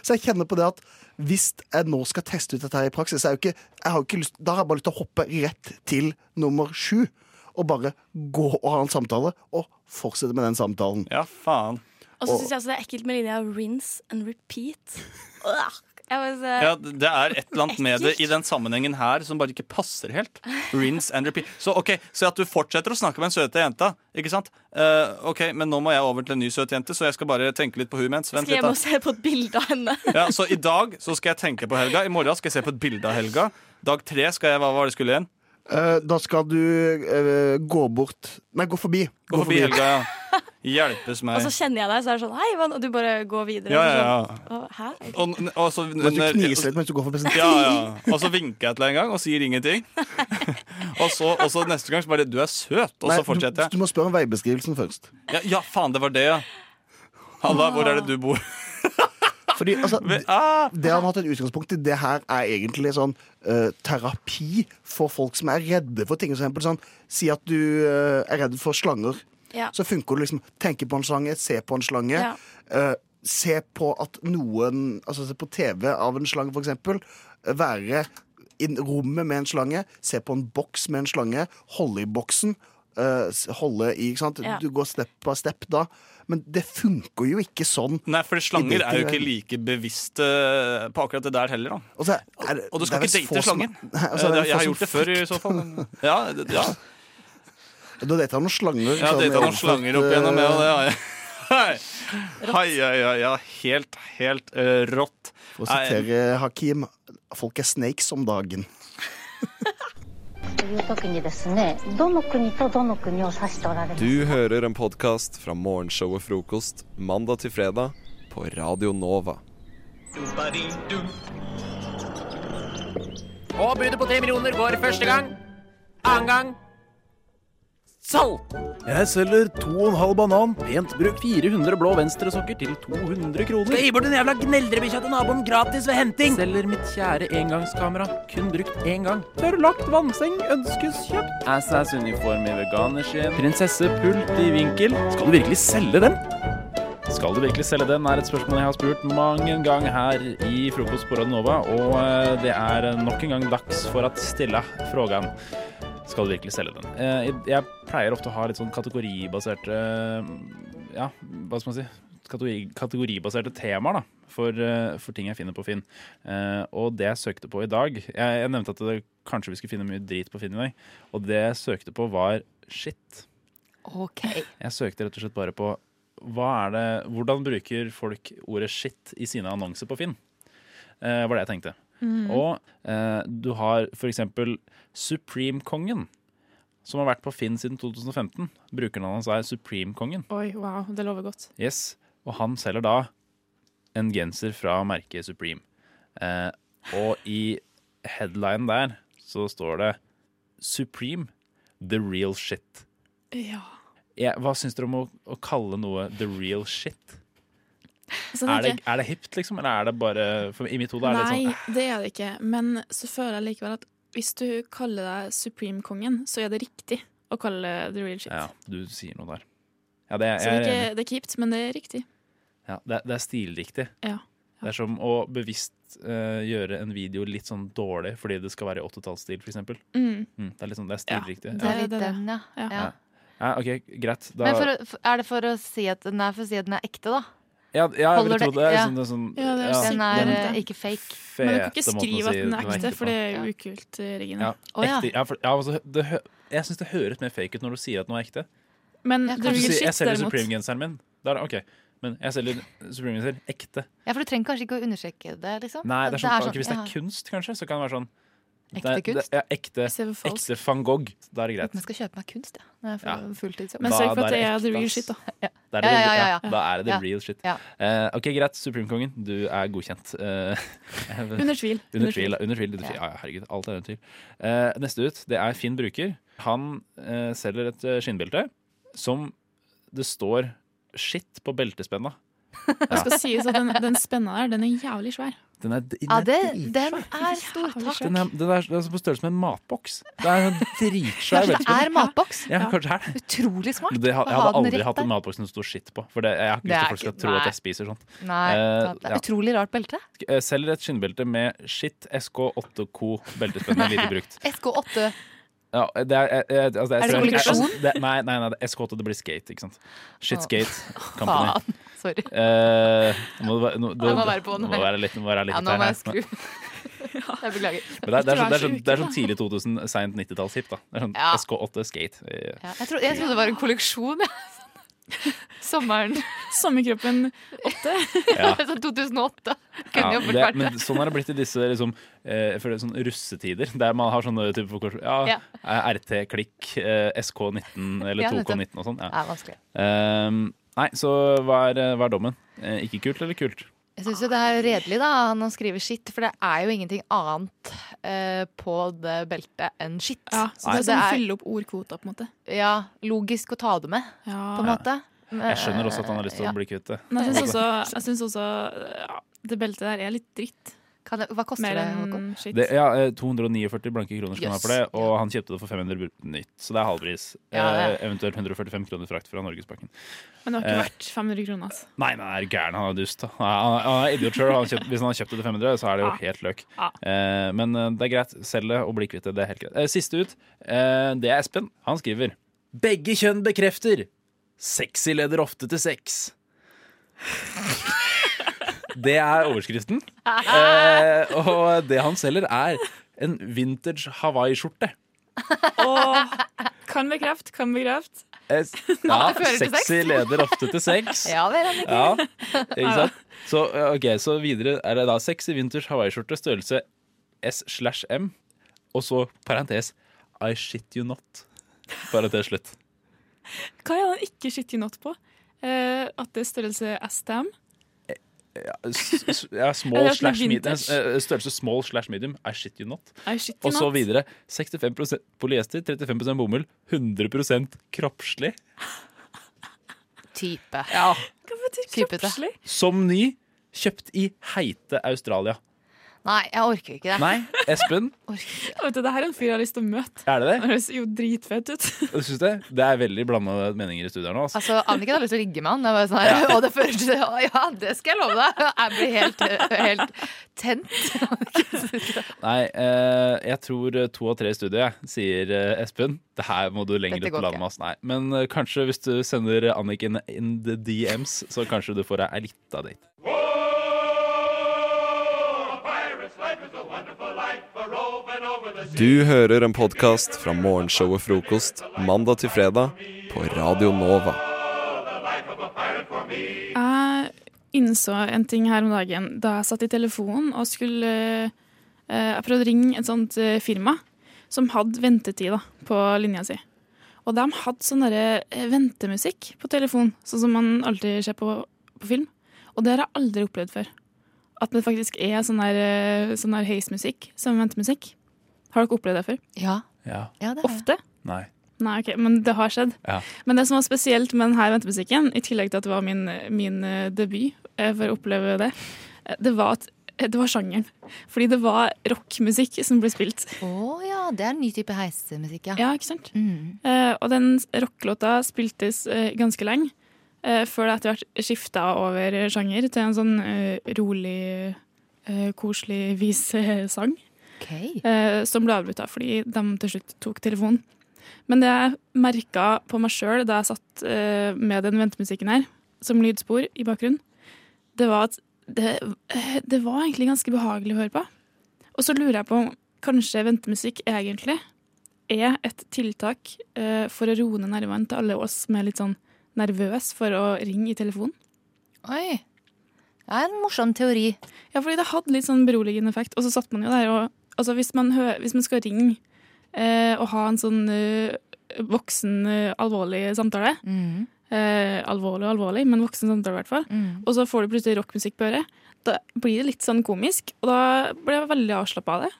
Så jeg kjenner på det at hvis jeg nå skal teste ut dette her i praksis, så er jeg jo ikke, jeg har jo ikke lyst, da har jeg bare lyst til å hoppe rett til nummer sju. Og bare gå og ha en samtale, og fortsette med den samtalen.
Ja, faen.
Og så syns jeg også det er ekkelt med linja 'rinse and repeat'. Ugh. Jeg var så-
Ja, det er et eller annet med det i den sammenhengen her som bare ikke passer helt. Rinse and repeat. Så ok, så at du fortsetter å snakke med den søte jenta, ikke sant? Eh, ok, men nå må jeg over til en ny søt jente, så jeg skal bare tenke litt på hun mens. Vent
Skal
litt,
hjem
da.
og se på et bilde av henne.
Ja, så i dag så skal jeg tenke på Helga, i morgen skal jeg se på et bilde av Helga. Dag tre skal jeg, hva var det jeg skulle igjen?
Eh, da skal du eh, gå bort Nei, gå forbi.
Gå forbi Helga, ja. Hjelpes meg.
Og så kjenner jeg deg, så er det sånn 'hei, Ivan', og du bare går videre.
Ja, ja,
Sånn, «Å, Hæ?
Og, og så,
Men du kniser litt mens du går forbi.
Ja, ja. Og så vinker jeg til deg en gang og sier ingenting. og, så, og så neste gang så bare 'du er søt', og
Nei,
så fortsetter jeg.
Du, du må spørre om veibeskrivelsen først.
Ja, ja, faen, det var det, ja. Halla, hvor er det du bor?
Ah. Fordi altså,
ah!
det, det han har hatt et utgangspunkt i, det her er egentlig sånn eh, terapi for folk som er redde for ting. For eksempel sånn, si at du eh, er redd for slanger.
Ja.
Så funker det liksom tenke på en slange, se på en slange.
Ja.
eh, se på at noen Altså se på TV av en slange, for eksempel. eh, være i rommet med en slange, se på en boks med en slange, holde i boksen. eh, s- holde i, ikke sant?
Ja.
Du går step by step da. Men det funker jo ikke sånn.
Nei, for slanger er jo
Identitet.
ikke like bevisste på akkurat det der heller, da.
Og, så er det-
Og du
det
skal
er
ikke
vel få
date
som-
slangen.
Nei, altså, det er vel
jeg
få
har
som
gjort det før, i
frykter.
så fall. Men, ja, det- ja.
Du har data noen slanger. liksom,
Jeg har data noen slanger opp igjennom, jeg, og det har jeg.
eh, Rått.
Hei, hei, hei, ja, helt, helt eh, rått.
For å
Nei,
sitere Hakim folk er snakes om dagen.
という時にですねどの国とどの国を指しておられます
Du hører en podkast fra morgenshowet Frokost mandag til fredag på Radio Nova.
Og budet på tre millioner går første gang. Annen gang salg.
Jeg selger 2,5 banan, pent brukt 400 blå venstresokker til 200 kroner.
Skal gi bort den jævla gneldrebikkja til naboen gratis ved henting. Selger mitt kjære engangskamera, kun brukt én gang. Tørrlagt vannseng ønskes kjøpt.
Assas-uniform i veganerskinn. Prinsessepult i vinkel. Skal du virkelig selge den? Skal du virkelig selge den, er et spørsmål jeg har spurt mang en gang her i Frokost på Radio Nova, og eh, det er nok en gang dags for at stille frågan. Skal du virkelig selge den? Eh, jeg- Jeg pleier ofte å ha litt sånn kategoribaserte eh, Ja, hva skal man si? Kategori, kategoribaserte temaer da, for, eh, for ting jeg finner på Finn. Eh, og det jeg søkte på i dag Jeg, jeg nevnte at det, kanskje vi skulle finne mye drit på Finn i dag. Og det jeg søkte på, var shit.
OK.
Jeg søkte rett og slett bare på hva er det, hvordan bruker folk ordet shit i sine annonser på Finn? Eh, var det jeg tenkte.
Mhm.
Og eh, du har for eksempel Supreme-kongen. som har vært på Finn siden 2015. Brukernavnet hans er Supreme-kongen.
Oi, wow, det lover godt.
Yes, og han selger da en genser fra merket Supreme. Eh, og i headline der så står det Supreme, the real shit.
Ja.
Jeg, hva syns dere om å, å kalle noe the real shit?
Altså,
er, det,
tenker jeg-
er det hipt, liksom? Eller er det bare for, I mitt hode er det
Nei,
litt sånn
det er det ikke. Men så føler jeg likevel at hvis du kaller deg Supreme-kongen, så er det riktig å kalle det the real shit.
Ja, du sier noe der. Ja, det,
Så det
jeg
er,
er enig.
ikke, det er ikke hipt, men det er riktig.
Ja, det, er- det er stilriktig.
Ja.
Det er som å bevisst eh, gjøre en video litt sånn dårlig fordi det skal være i åttetallsstil, for eksempel.
Mm.
det er litt sånn, det er stilriktig.
Det er litt den, ja. ja.
Ja. Ja, OK, greit. Da
Men for, å- for- er det for å si at den er, for å si at den er ekte, da?
ja, ja, jeg vil
holder
tro
det-
det. Er
ja.
sånn, det er sånn,
Ja, det er sikkert Den er
den
eh, ikke fake.
fete
Men du kan ikke
måten å
skrive
si
at den er
på.
ekte, for det er jo ukult, eh, Regine.
Ja, ekte, ja, for, ja, altså, det, hø- jeg syns det høres mer fake ut når du sier at noe er ekte.
Men
Ja,
the
Hvis du
real
sier,
shit,
jeg selger
derimot.
Supreme-genseren min. Da er det OK. Men jeg selger Supreme-genser ekte.
Ja, for du trenger kanskje ikke å undersøke det, liksom?
Nei, det er sånn, ok, hvis det
ja.
er kunst, kanskje, så kan det være sånn
Ekte kunst?
Det, ja, ekte,
for falsk.
ekte van Gogh. Da er det greit.
Men jeg skal kjøpe meg kunst, ja. Når jeg får
Ja.
fulltidsjobb.
Men Da- sørg for at da er det det er ekte, the real ass. shit, da. Da er det, ja, ja, Da er det the
Ja.
real shit.
Ja.
Eh, ok, greit, Supreme-kongen, du er godkjent. Eh,
Under tvil.
Under tvil, under tvil.
Ja.
Ja. ja, herregud, alt er under tvil. Eh, neste ut, det er Finn Bruker. Han eh, selger et eh, skinnbelte som det står skitt på beltespenna.
Det skal sies at den, den spenna der, den er jævlig svær.
Den er, den
Ja,
er
det,
dritsvær.
den er stor. Takk.
Den er, den er, den er på størrelse med en matboks. Det er en dritsvær
Kanskje det
beltespenn.
er matboks?
Ja, kanskje det er det.
Utrolig smart.
Det, ha-
å
jeg
ha
hadde
den
aldri
rett
hatt
der.
en matboks som det sto skitt på. For det, jeg har ikke
Det
lyst
er
til at folk skal
ikke-
tro at
nei.
jeg spiser sånt.
Nei,
Eh,
sant. det er
ja.
utrolig rart belte.
Eh, Selger et skinnbelte med skitt SK8 Co. beltespenn, lite brukt.
SK8.
Ja, det er, eh, eh, altså, jeg
Er det
tror-
kolleksjon?
jeg- det- Nei, nei, nei det er SK8 det blir skate, ikke sant. Shitskate Company.
Faen. Sorry.
Eh, nå, må det være- nå,
Jeg må være på
nå
nå.
må være litt, må være litt
Ja, nå må jeg
intern her. Men-
skru. Jeg beklager.
men det, er, det, er, så- det, er, så- det er sånn tidlig 2000, seint 90-tallship. da. Det er sånn
Ja.
SK8 skate. Eh,
Ja, jeg, tro, jeg trodde det var en kolleksjon. jeg. Sommeren.
Sommerkroppen 8.
Ja.
sånn 2008. Kunne
Ja,
jo fort
det,
vært
men
det.
sånn har det blitt i disse liksom, eh, jeg føler sånn russetider, der man har sånne type for, ja,
Ja.
eh, RT-klikk, eh, SK19 eller
Ja,
2K19
nettopp.
og sånn. Ja.
Ja, vanskelig.
Ehm, nei, så hva er, hva er dommen? Eh, ikke kult eller kult?
Jeg syns jo det er redelig da, han å skrive skitt, for det er jo ingenting annet eh, på det beltet enn skitt.
Ja, så det er sånn å fylle opp ordkvota, på en måte.
Ja, logisk å ta det med, på en
Ja.
måte.
Jeg skjønner også at han har lyst
Ja.
til å bli kvitt det.
Men jeg syns også, jeg synes også ja, det beltet der er litt dritt.
hva koster
Mer
det,
enn
Håkon?
skitt.
Det, ja, eh, 249 blanke kroner skal han ha for det,
Yes,
og han kjøpte det for 500 br- nytt. Så det er halvpris.
Ja, det er.
Eh, eventuelt 145 kroner frakt fra Norgespakken.
Men det har ikke
Eh,
vært 500 kroner, altså.
Nei, nei, er du gæren. Han er dust. da. Han er, han er idiot sjøl. Hvis han har kjøpt det til 500, så er det jo
Ja.
helt løk.
Ja.
Eh, men eh, det er greit. Selg det og bli kvitt det. Det er helt greit. Eh, siste ut, eh, det er Espen. Han skriver Begge kjønn bekrefter. Sexy leder ofte til sex. Det er overskriften. Eh, og det han selger, er en vintage Hawaii-skjorte.
Åh, kan bekreft, kan bekreft.
Eh,
Ja, det fører til sex.
sexy leder ofte til sex.
Ja, det er det.
Ja, ikke sant? Så, eh, ok, så videre er det da sexy vinters hawaiiskjorte størrelse S slash M, og så parentes I shit you not. Parentes slutt.
Hva er den ikke shitty not på? Eh, at det er størrelse S til M?
Ja, s- s- ja,
Eller
small
at den er sånn
slash medium.
vintage.
eh, Størrelse small slash medium. I shit you not.
I shit you
Og så
not.
videre. 65 polyester, 35 bomull, 100 kroppslig.
Type.
Ja.
Hva betyr
Typete.
kroppslig?
Som ny, kjøpt i heite Australia.
Nei, jeg orker ikke det.
Nei, Espen,
Vet du, det her er en fyr jeg har lyst til å møte.
er det det?
Han høres jo dritfett ut.
Syns du det? Det er veldig blanda meninger i studio her nå. Altså.
Altså, Anniken har lyst til å ligge med han. Det er bare sånn her,
Ja.
Og det fører til å, Ja, det skal jeg love deg. Jeg blir helt, helt tent.
Nei, eh, jeg tror to av tre i studio, jeg, sier eh, Espen. Det her må du lenger
Dette
ut på
går
landet med oss. Nei. Men eh, kanskje hvis du sender Anniken in the DMs, så kanskje du får deg ei lita date.
Du hører en podkast fra morgenshowet Frokost mandag til fredag på Radio Nova.
Jeg innså en ting her om dagen da jeg satt i telefonen og skulle eh, Jeg prøvde å ringe et sånt eh, firma som hadde ventetid da, på linja si. Og de hadde sånn derre eh, ventemusikk på telefon, sånn som man alltid ser på, på film. Og det har jeg aldri opplevd før. At det faktisk er sånn der, eh, sånn der heismusikk som ventemusikk. Har dere opplevd det før?
Ja.
Ja.
Ofte?
Nei.
Nei, ok, men det har skjedd.
Ja.
Men det som var spesielt med denne ventemusikken, i tillegg til at det var min, min eh, debut eh, for å oppleve det, eh, det var at eh, det var sjangeren. Fordi det var rockmusikk som ble spilt.
Å ja, det er en ny type heisemusikk, ja.
Ja, ikke sant? Eh, og den rockelåta spiltes eh, ganske lenge, eh, før det etter hvert skifta over sjanger til en sånn eh, rolig, eh, koselig visesang. Eh, som ble avbrutta fordi de til slutt tok telefonen. Men det jeg merka på meg sjøl da jeg satt eh, med den ventemusikken her, som lydspor i bakgrunnen, det var at det, eh, det var egentlig ganske behagelig å høre på. Og så lurer jeg på om kanskje ventemusikk egentlig er et tiltak eh, for å roe ned nervene til alle oss som er litt sånn nervøse for å ringe i telefonen.
Oi. Det er en morsom teori.
Ja, fordi det hadde litt sånn beroligende effekt. Og så satt man jo der og Altså, hvis man, hø hvis man skal ringe eh, og ha en sånn eh, voksen, eh, alvorlig samtale
Mm.
Mm.
eh, Alvorlig og alvorlig, men voksen samtale i hvert fall.
Mm.
Og så får du plutselig rockmusikk på øret. Da blir det litt sånn komisk, og da ble jeg veldig avslappa av det.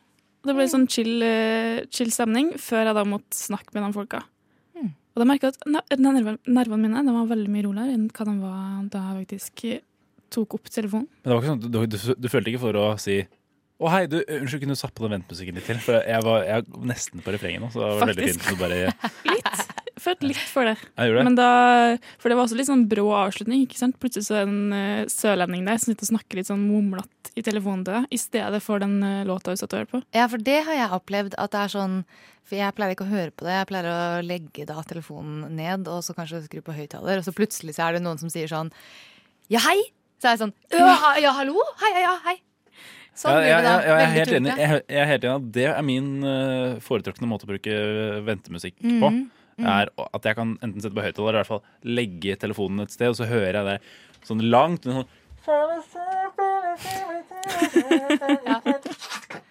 Og Det ble sånn chill, eh, chill stemning før jeg da måtte snakke med de folka. Og da merka jeg at ne- nervene nervene mine de var veldig mye roligere enn hva de var da jeg faktisk eh, tok opp telefonen.
Men det var ikke sånn, du, du, du følte ikke for å si å hei, du, unnskyld, kunne du satt på den ventemusikken litt til? For jeg var, jeg var nesten på refrenget nå, så det var veldig
Faktisk.
fint. Så bare,
Følte litt for det.
Jeg gjorde det.
Men da, for det var også litt sånn brå avslutning. ikke sant? Plutselig så er det en eh, sørlending der som sitter og snakker litt sånn mumlete i telefonen til deg, i stedet for den eh, låta du satt og hørte på.
Ja, for det har jeg opplevd. At det er sånn For jeg pleier ikke å høre på det. Jeg pleier å legge da telefonen ned, og så kanskje skru på høyttaler, og så plutselig så er det noen som sier sånn Ja, hei! Så er jeg sånn «Ja, ha- Ja, hallo? Hei, hei, ja, hei. Sånn
ja,
blir
ja,
det da.
ja, ja, jeg, er
Veldig
helt enig.
tullete.
Jeg, jeg er helt enig at det er min eh, foretrukne måte å bruke ventemusikk på.
Mhm. Mhm.
Er at jeg kan enten sette på høyttaler eller i hvert fall legge telefonen et sted, og så hører jeg det sånn langt. Sånn,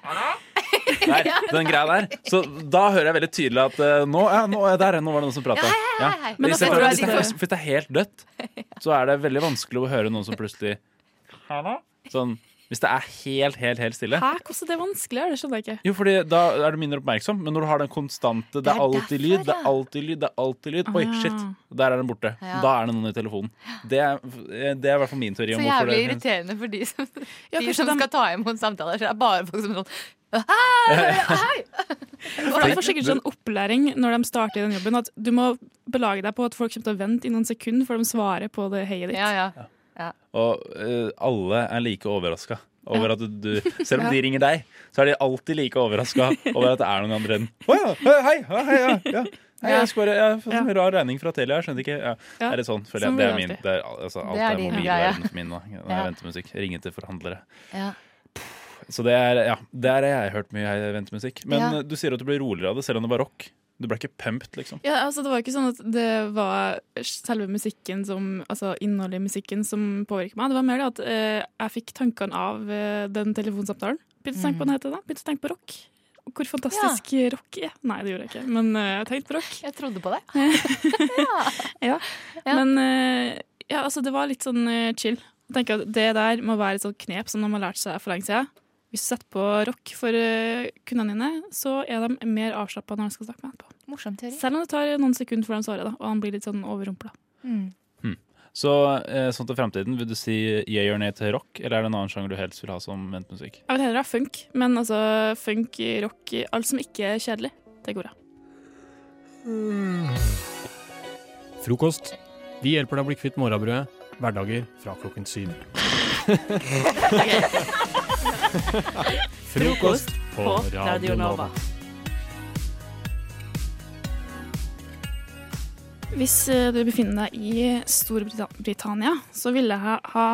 der, den greia der. Så da hører jeg veldig tydelig at eh, nå, ja, nå, er jeg der, nå var det noen som prata. Ja.
hei, hei. Men
Men
da
i stedet
tror
for-
jeg
hvis det
de
er-
får-
hvis det er helt dødt, så er det veldig vanskelig å høre noen som plutselig Sånn Hvis det er helt, helt, helt stille.
Hæ, hvordan er det vanskelig? Det skjønner jeg ikke.
Jo, fordi da er du mindre oppmerksom, men når du har den konstante Det
Det
er
er
alltid
derfor,
lyd, det er
ja.
alltid lyd, det er alltid lyd. Oi,
Ah.
shit. Der er den borte.
Ja.
Da er det noen i telefonen. Det er, det er i hvert fall min teori
Så
om hvorfor
jævlig
det
irriterende for de som, de
kanskje
som
de-
skal ta imot samtaler. Så det er bare folk som er sånn Hei!
For de får sikkert sånn opplæring når de starter i den jobben, at du må belage deg på at folk kommer til å vente i noen sekunder før de svarer på det heiet ditt.
Og eh, alle er like overraska over at du, du Selv om de
Ja.
ringer deg, så er de alltid like overraska over at det er noen andre enn Å ja, hei, hei, hei, ja, ja. Hei, Jeg, skal bare, jeg har fått en rar regning fra Telia, jeg skjønte ikke ja.
Ja,
Er det sånn, føler
sånn
jeg. Det
blir
er
det
min.
alltid.
Det er, altså, alt
Det er
er,
din greie.
mobilverdenen min nå. Når jeg
Ja.
venter musikk. Ringe til forhandlere.
Ja.
Så det er, ja, der har jeg hørt mye jeg venter musikk. Men
Ja.
eh, du sier at du ble roligere av det, selv om det var rock. Du ble ikke pumped, liksom.
Ja, altså Det var ikke sånn at det var selve musikken som, altså innholdet i musikken som påvirket meg. Det var mer det at eh, jeg fikk tankene av eh, den telefonsamtalen. Begynte å tenke på
Mm.
hva den heter da. Begynte å tenke på rock. Og Hvor fantastisk rock er. Nei, det gjorde jeg ikke, men eh, jeg tenkte på rock.
Jeg trodde på det.
ja. Men eh, ja, altså, det var litt sånn eh, chill. Jeg tenker at Det der må være et sånt knep som de har lært seg for lenge siden. Hvis du setter på rock for eh, kundene dine, så er de mer avslappa når de skal snakke med etterpå.
Morsom teori.
Selv om det tar noen sekunder før de svarer, da, og han blir litt sånn overrumpla.
Hm. Så eh, sånn til fremtiden, vil du si yeah or nay til rock, eller er det en annen sjanger du helst vil ha som ventemusikk?
Jeg vil heller ha funk, men altså funk, rock, alt som ikke er kjedelig, det går bra.
Frokost. Vi hjelper deg å bli kvitt morrabrødet. Hverdager fra klokken syv. Frokost på Radio Nova.
Hvis eh, du befinner deg i Storbritannia, så ville jeg ha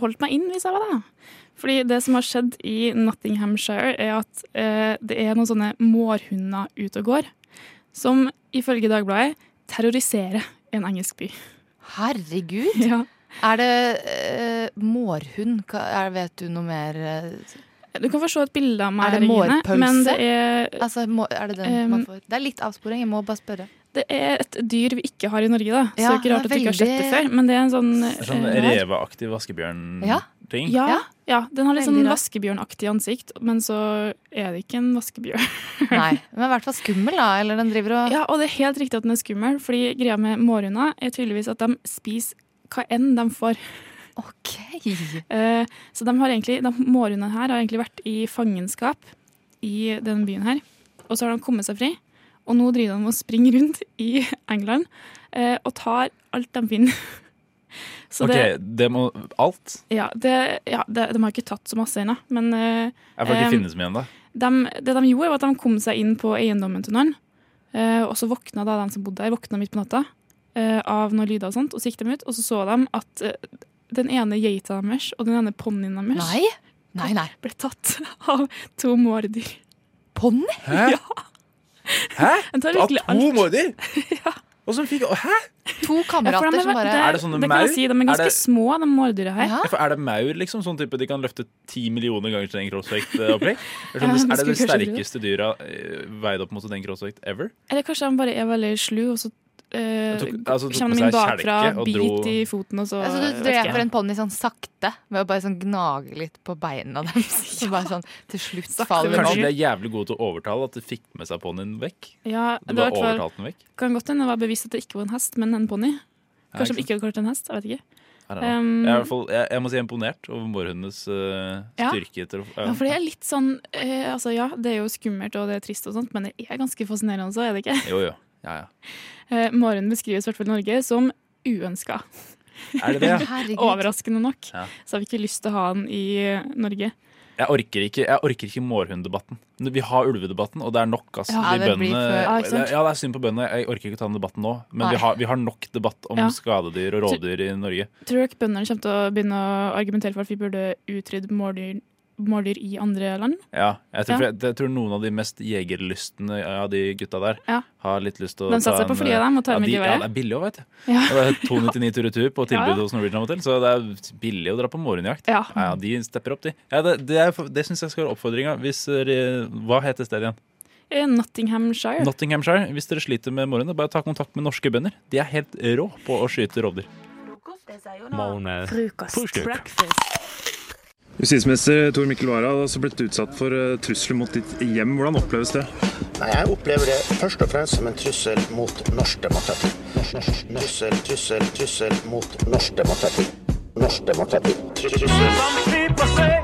holdt meg inn hvis jeg var deg. Fordi det som har skjedd i Nottinghamshire, er at eh, det er noen sånne mårhunder ute og går, som ifølge Dagbladet terroriserer en engelsk by.
Herregud! Er det eh, mårhund? Ka- Er, vet du noe mer? eh?
Du kan få se et bilde av meg
Er det
her, Regine,
mårpølse?
men det er
altså, må, er det, den
Ehm,
man får? det er litt avsporing, jeg må bare spørre.
Det er et dyr vi ikke har i Norge, da. Så det
Ja,
er ikke rart at
det er
vi ikke har sett det
veldig-
før. Men det er en sånn,
Sånn
eh, rar.
reveaktig vaskebjørn-ting.
Ja. Ja, ja, den har litt
Veldig
sånn
rar.
vaskebjørnaktig ansikt, men så er det ikke en vaskebjørn.
Nei, men i hvert fall skummel, da. Eller den driver og
Ja, og det er helt riktig at den er skummel, fordi greia med mårhunda er tydeligvis at de spiser hva enn de får. Eh,
OK.
så de har egentlig, de mårhundene her har egentlig vært i fangenskap i denne byen her, og så har de kommet seg fri. Og nå driver de og springer rundt i England eh, og tar alt de finner. Så
Ok,
det-
det må Alt?
Ja, det, ja det, de har ikke tatt så masse ennå, men eh,
Jeg får ikke
eh,
finne så mye ennå.
dem- Det de gjorde, var at de kom seg inn på eiendommen til noen. eh, og så våkna da den som bodde der, våkna midt på natta eh, av noen lyder og sånt, og så gikk de ut, og så så de at eh, den ene geita deres og den ene ponnien deres
Nei. Nei, nei.
ble tatt av to mårdyr.
Ponni?
Hæ? Ja.
Hæ?
Den tar
Av
virkelig
to
alt.
mårdyr? Og som fikk Hæ?
To
Ja, for de
kamerater
er-
som bare
det,
Er det sånne
det kan
maur?
jeg si, De er
Er
ganske
det-
små, de mårdyra her.
Ja, for Er det maur, liksom? Sånn type de kan løfte ti millioner ganger til en crossvekt? eh, opplegg? Er
Ja,
det, sånn,
men
er det det
skulle kanskje tro det.
sterkeste dyra eh, veid opp mot en crossvekt ever?
Eller kanskje de bare er veldig slu, og så eh,
Tok- altså, tok
kommer
på
de
seg
inn bakfra,
kjelke og
bit
dro-
i foten, og så
Altså,
vet ikke.
du dreper en ponni sånn sakte ved å bare sånn gnage litt på beina deres. Så bare sånn, til slutt faller
Kanskje de
den
er jævlig gode til å overtale at de fikk med seg ponnien vekk?
ja,
Du
det var i
bare
hvert fall-
overtalte den vekk?
Kan godt hende det var bevisst at det ikke var en hest, men en ponni.
Ja, ikke
Kanskje de ikke hadde klart en hest. Jeg vet ikke.
I don't know.
Um,
jeg, er i hvert fall, jeg, jeg må si jeg er imponert over mårhundenes eh,
Ja.
styrke. Til, å-
Ja, for det er litt sånn eh, Altså, ja, det er jo skummelt og det er trist og sånt, men det er ganske fascinerende også, er det ikke?
Jo, jo. Ja, ja.
Eh, Maren beskrives i hvert fall i Norge som uønska.
Er det det, ja? Herregud.
Overraskende nok.
Ja.
Så har vi ikke lyst til å ha den i eh, Norge.
Jeg orker ikke, jeg orker ikke mårhunddebatten. Vi har ulvedebatten, og det er nok. Altså,
Ja,
de
det blir
bøndene-
for- Ja, ikke sant?
ja, det er synd på bøndene. Jeg orker ikke ta den debatten nå. Men vi
Nei.
har, vi har nok debatt om
Ja.
skadedyr og
Tror-
rovdyr i Norge.
Tror dere bøndene kommer til å begynne å argumentere for at vi burde utrydde mårdyr, mårdyr i andre land?
Ja, jeg tror,
Ja.
for Jeg, jeg tror noen av de mest jegerlystne av de gutta der
Ja.
har litt lyst til å eh,
De satser på flyet, dem, og tar
ja,
med
de,
geværet.
ja, det er billig òg, vet du.
Ja.
Det er 299 tur retur på
Ja,
tilbud
ja.
hos Norwegian av og til, så det er billig å dra på mårhundjakt.
Ja.
Ja, de stepper opp, de. Ja, det det, er for- det syns jeg skal være oppfordringa. Hvis dere- Hva heter stedet igjen?
Eh, Nottinghamshire.
Nottinghamshire. Hvis dere sliter med mårhunder, bare ta kontakt med norske bønder. De er helt rå på å skyte rovdyr.
Justisminister eh, Tor Mikkel Wara har også blitt utsatt for eh, trusler mot ditt hjem. Hvordan oppleves det?
Nei, Jeg opplever det først og fremst som en trussel mot norsk demokrati. Norsk- norsk- Trussel, trussel, trussel mot norsk demokrati. Norsk demokrati. Trussel.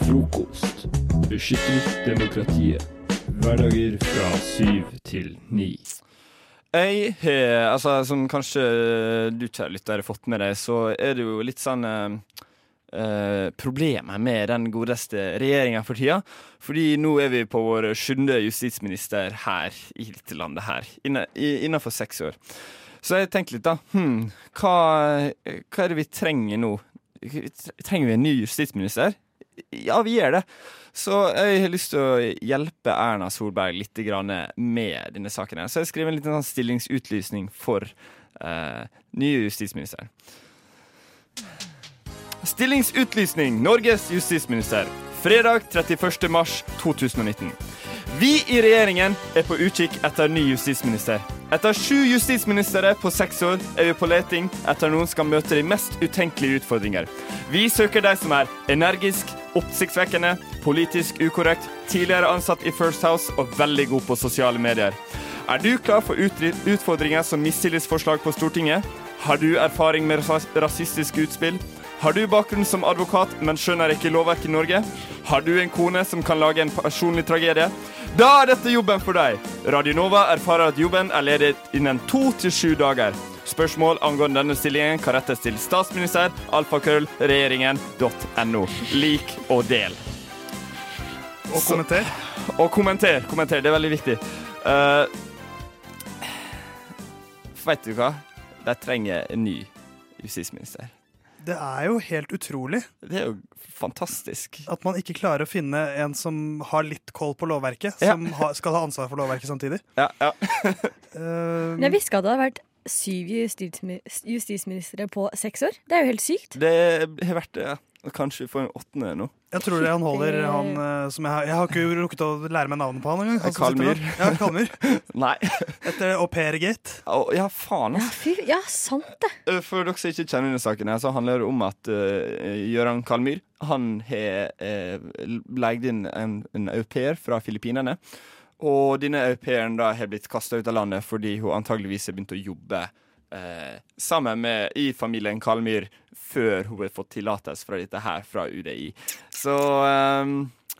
Frokost. Beskytter demokratiet. Hverdager fra syv til ni.
Jeg har, altså Som kanskje du, kjære lytter, har fått med deg, så er det jo litt sånn eh, eh, Problemer med den godeste regjeringa for tida. Fordi nå er vi på vår sjuende justisminister her i dette landet her. Inne, i, innenfor seks år. Så jeg tenkte litt, da. Hmm, hva, hva er det vi trenger nå? Trenger vi en ny justisminister? Ja, vi gjør det. Så jeg har lyst til å hjelpe Erna Solberg litt grann med denne saken. her. Så jeg skriver en liten sånn stillingsutlysning for eh, nye justisministeren. Stillingsutlysning Norges justisminister. Fredag 31. mars 2019. Vi i regjeringen er på utkikk etter ny justisminister. Etter sju justisministre på seks år er vi på leting etter noen som skal møte de mest utenkelige utfordringer. Vi søker de som er energisk, oppsiktsvekkende, politisk ukorrekt, tidligere ansatt i First House og veldig god på sosiale medier. Er du klar for utri- utfordringer som mistillitsforslag på Stortinget? Har du erfaring med ras- rasistiske utspill? Har du bakgrunn som advokat, men skjønner ikke lovverket i Norge? Har du en kone som kan lage en personlig tragedie? Da er dette jobben for deg! Radionova erfarer at jobben er ledig innen to til sju dager. Spørsmål angående denne stillingen kan rettes til statsminister alfakrøllregjeringen.no. Lik og del. Og kommenter. Og kommenter. kommenter, Det er veldig viktig. Eh, vet du hva? De trenger en ny justisminister.
Det er jo helt utrolig.
Det er jo fantastisk.
At man ikke klarer å finne en som har litt koll på lovverket, som har, skal ha ansvar for lovverket samtidig.
Ja, ja.
Eh,
Jeg hviska det hadde vært syv justismi- justisministre på seks år. Det er jo helt sykt.
Det har vært det, ja. Kanskje vi får en åttende nå.
Jeg tror det han holder han eh, som jeg har Jeg har ikke rukket å lære meg navnet på han engang. han som
Carl
sitter
Myhr.
der. Ja, Carl Myhr.
Nei.
Etter au pair-gate.
Ja, faen, altså.
Fy, ja, sant det.
Eh, For dere som ikke kjenner denne saken, her, så handler det om at uh, Gøran Kalmyr Han har eh, leid inn en, en au pair fra Filippinene. Og denne au pairen da har blitt kasta ut av landet fordi hun antageligvis har begynt å jobbe eh, sammen med i familien Kalmyr før hun har fått tillatelse fra dette her fra UDI. Så ehm,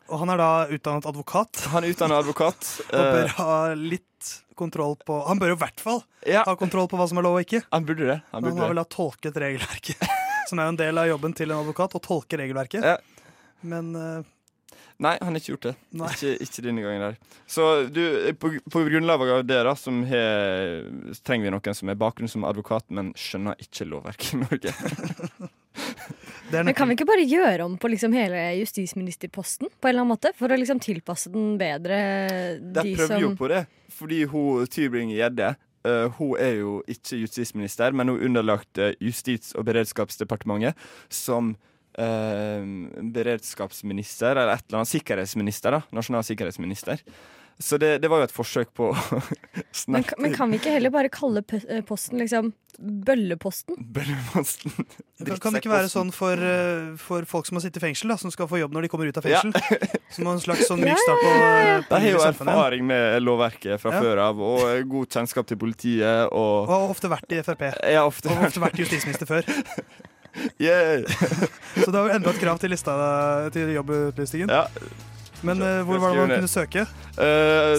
Og han er da utdannet advokat.
Han er utdannet advokat.
Og bør
eh,
ha litt kontroll på Han bør jo i hvert fall
Ja.
ha kontroll på hva som er lov og ikke.
Han burde det.
Han,
Han burde
har
det.
vel da tolket regelverket, som er jo en del av jobben til en advokat, å tolke regelverket. Men eh,
Nei, han har ikke gjort det.
Nei.
Ikke, ikke denne gangen der. Så du, på, på grunnlag av det da, som har, trenger vi noen som har bakgrunn som advokat, men skjønner ikke lovverket i Norge.
Men kan vi ikke bare gjøre om på liksom hele justisministerposten på en eller annen måte? For å liksom tilpasse den bedre
De
de
prøver
som
jo på det, fordi hun Tybring-Gjedde eh, hun er jo ikke justisminister, men hun er underlagt eh, Justis- og beredskapsdepartementet som eh, beredskapsminister, eller et eller annet sikkerhetsminister. da, Nasjonal sikkerhetsminister. Så det, det var jo et forsøk på å
men,
snerpe
ka- men kan vi ikke heller bare kalle p- eh, posten liksom Bølleposten?
Bølleposten.
kan, kan det ikke være sånn for, eh, for folk som har sittet i fengsel, da, som skal få jobb når de kommer ut av
Ja.
fengsel? Som en slags sånn
Ja,
myk start på,
De har
på
jo
livet i samfunnet.
erfaring med lovverket fra
Ja.
før av, og god kjennskap til politiet. Og,
Og har ofte vært i Frp.
Jeg har ofte,
Og har ofte vært justisminister før.
Yeah.
Så det har jo enda et krav til lista eh, til jobbutlistingen. Men eh, hvor var det man kunne søke?
Eh,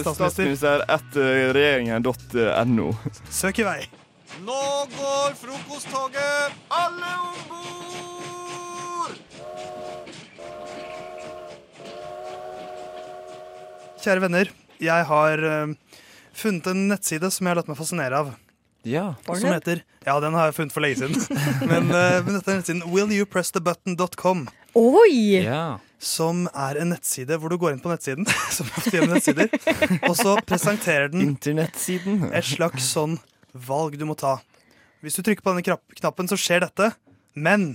statsminister
Statsminister.
eh, etter regjeringen.no.
Søk i vei.
Nå går frokosttoget! Alle om bord!
Kjære venner, jeg har eh, funnet en nettside som jeg har latt meg fascinere av.
Ja.
Som heter Ja, den har jeg funnet for lenge siden. Men, eh, men dette er nettsiden willyoupressthebutton.com.
Oi!
Som er en nettside hvor du går inn på nettsiden, som ofte gjør med nettsider, og så presenterer den
Internettsiden
et slags sånn valg du må ta. Hvis du trykker på denne krapp- knappen, så skjer dette, men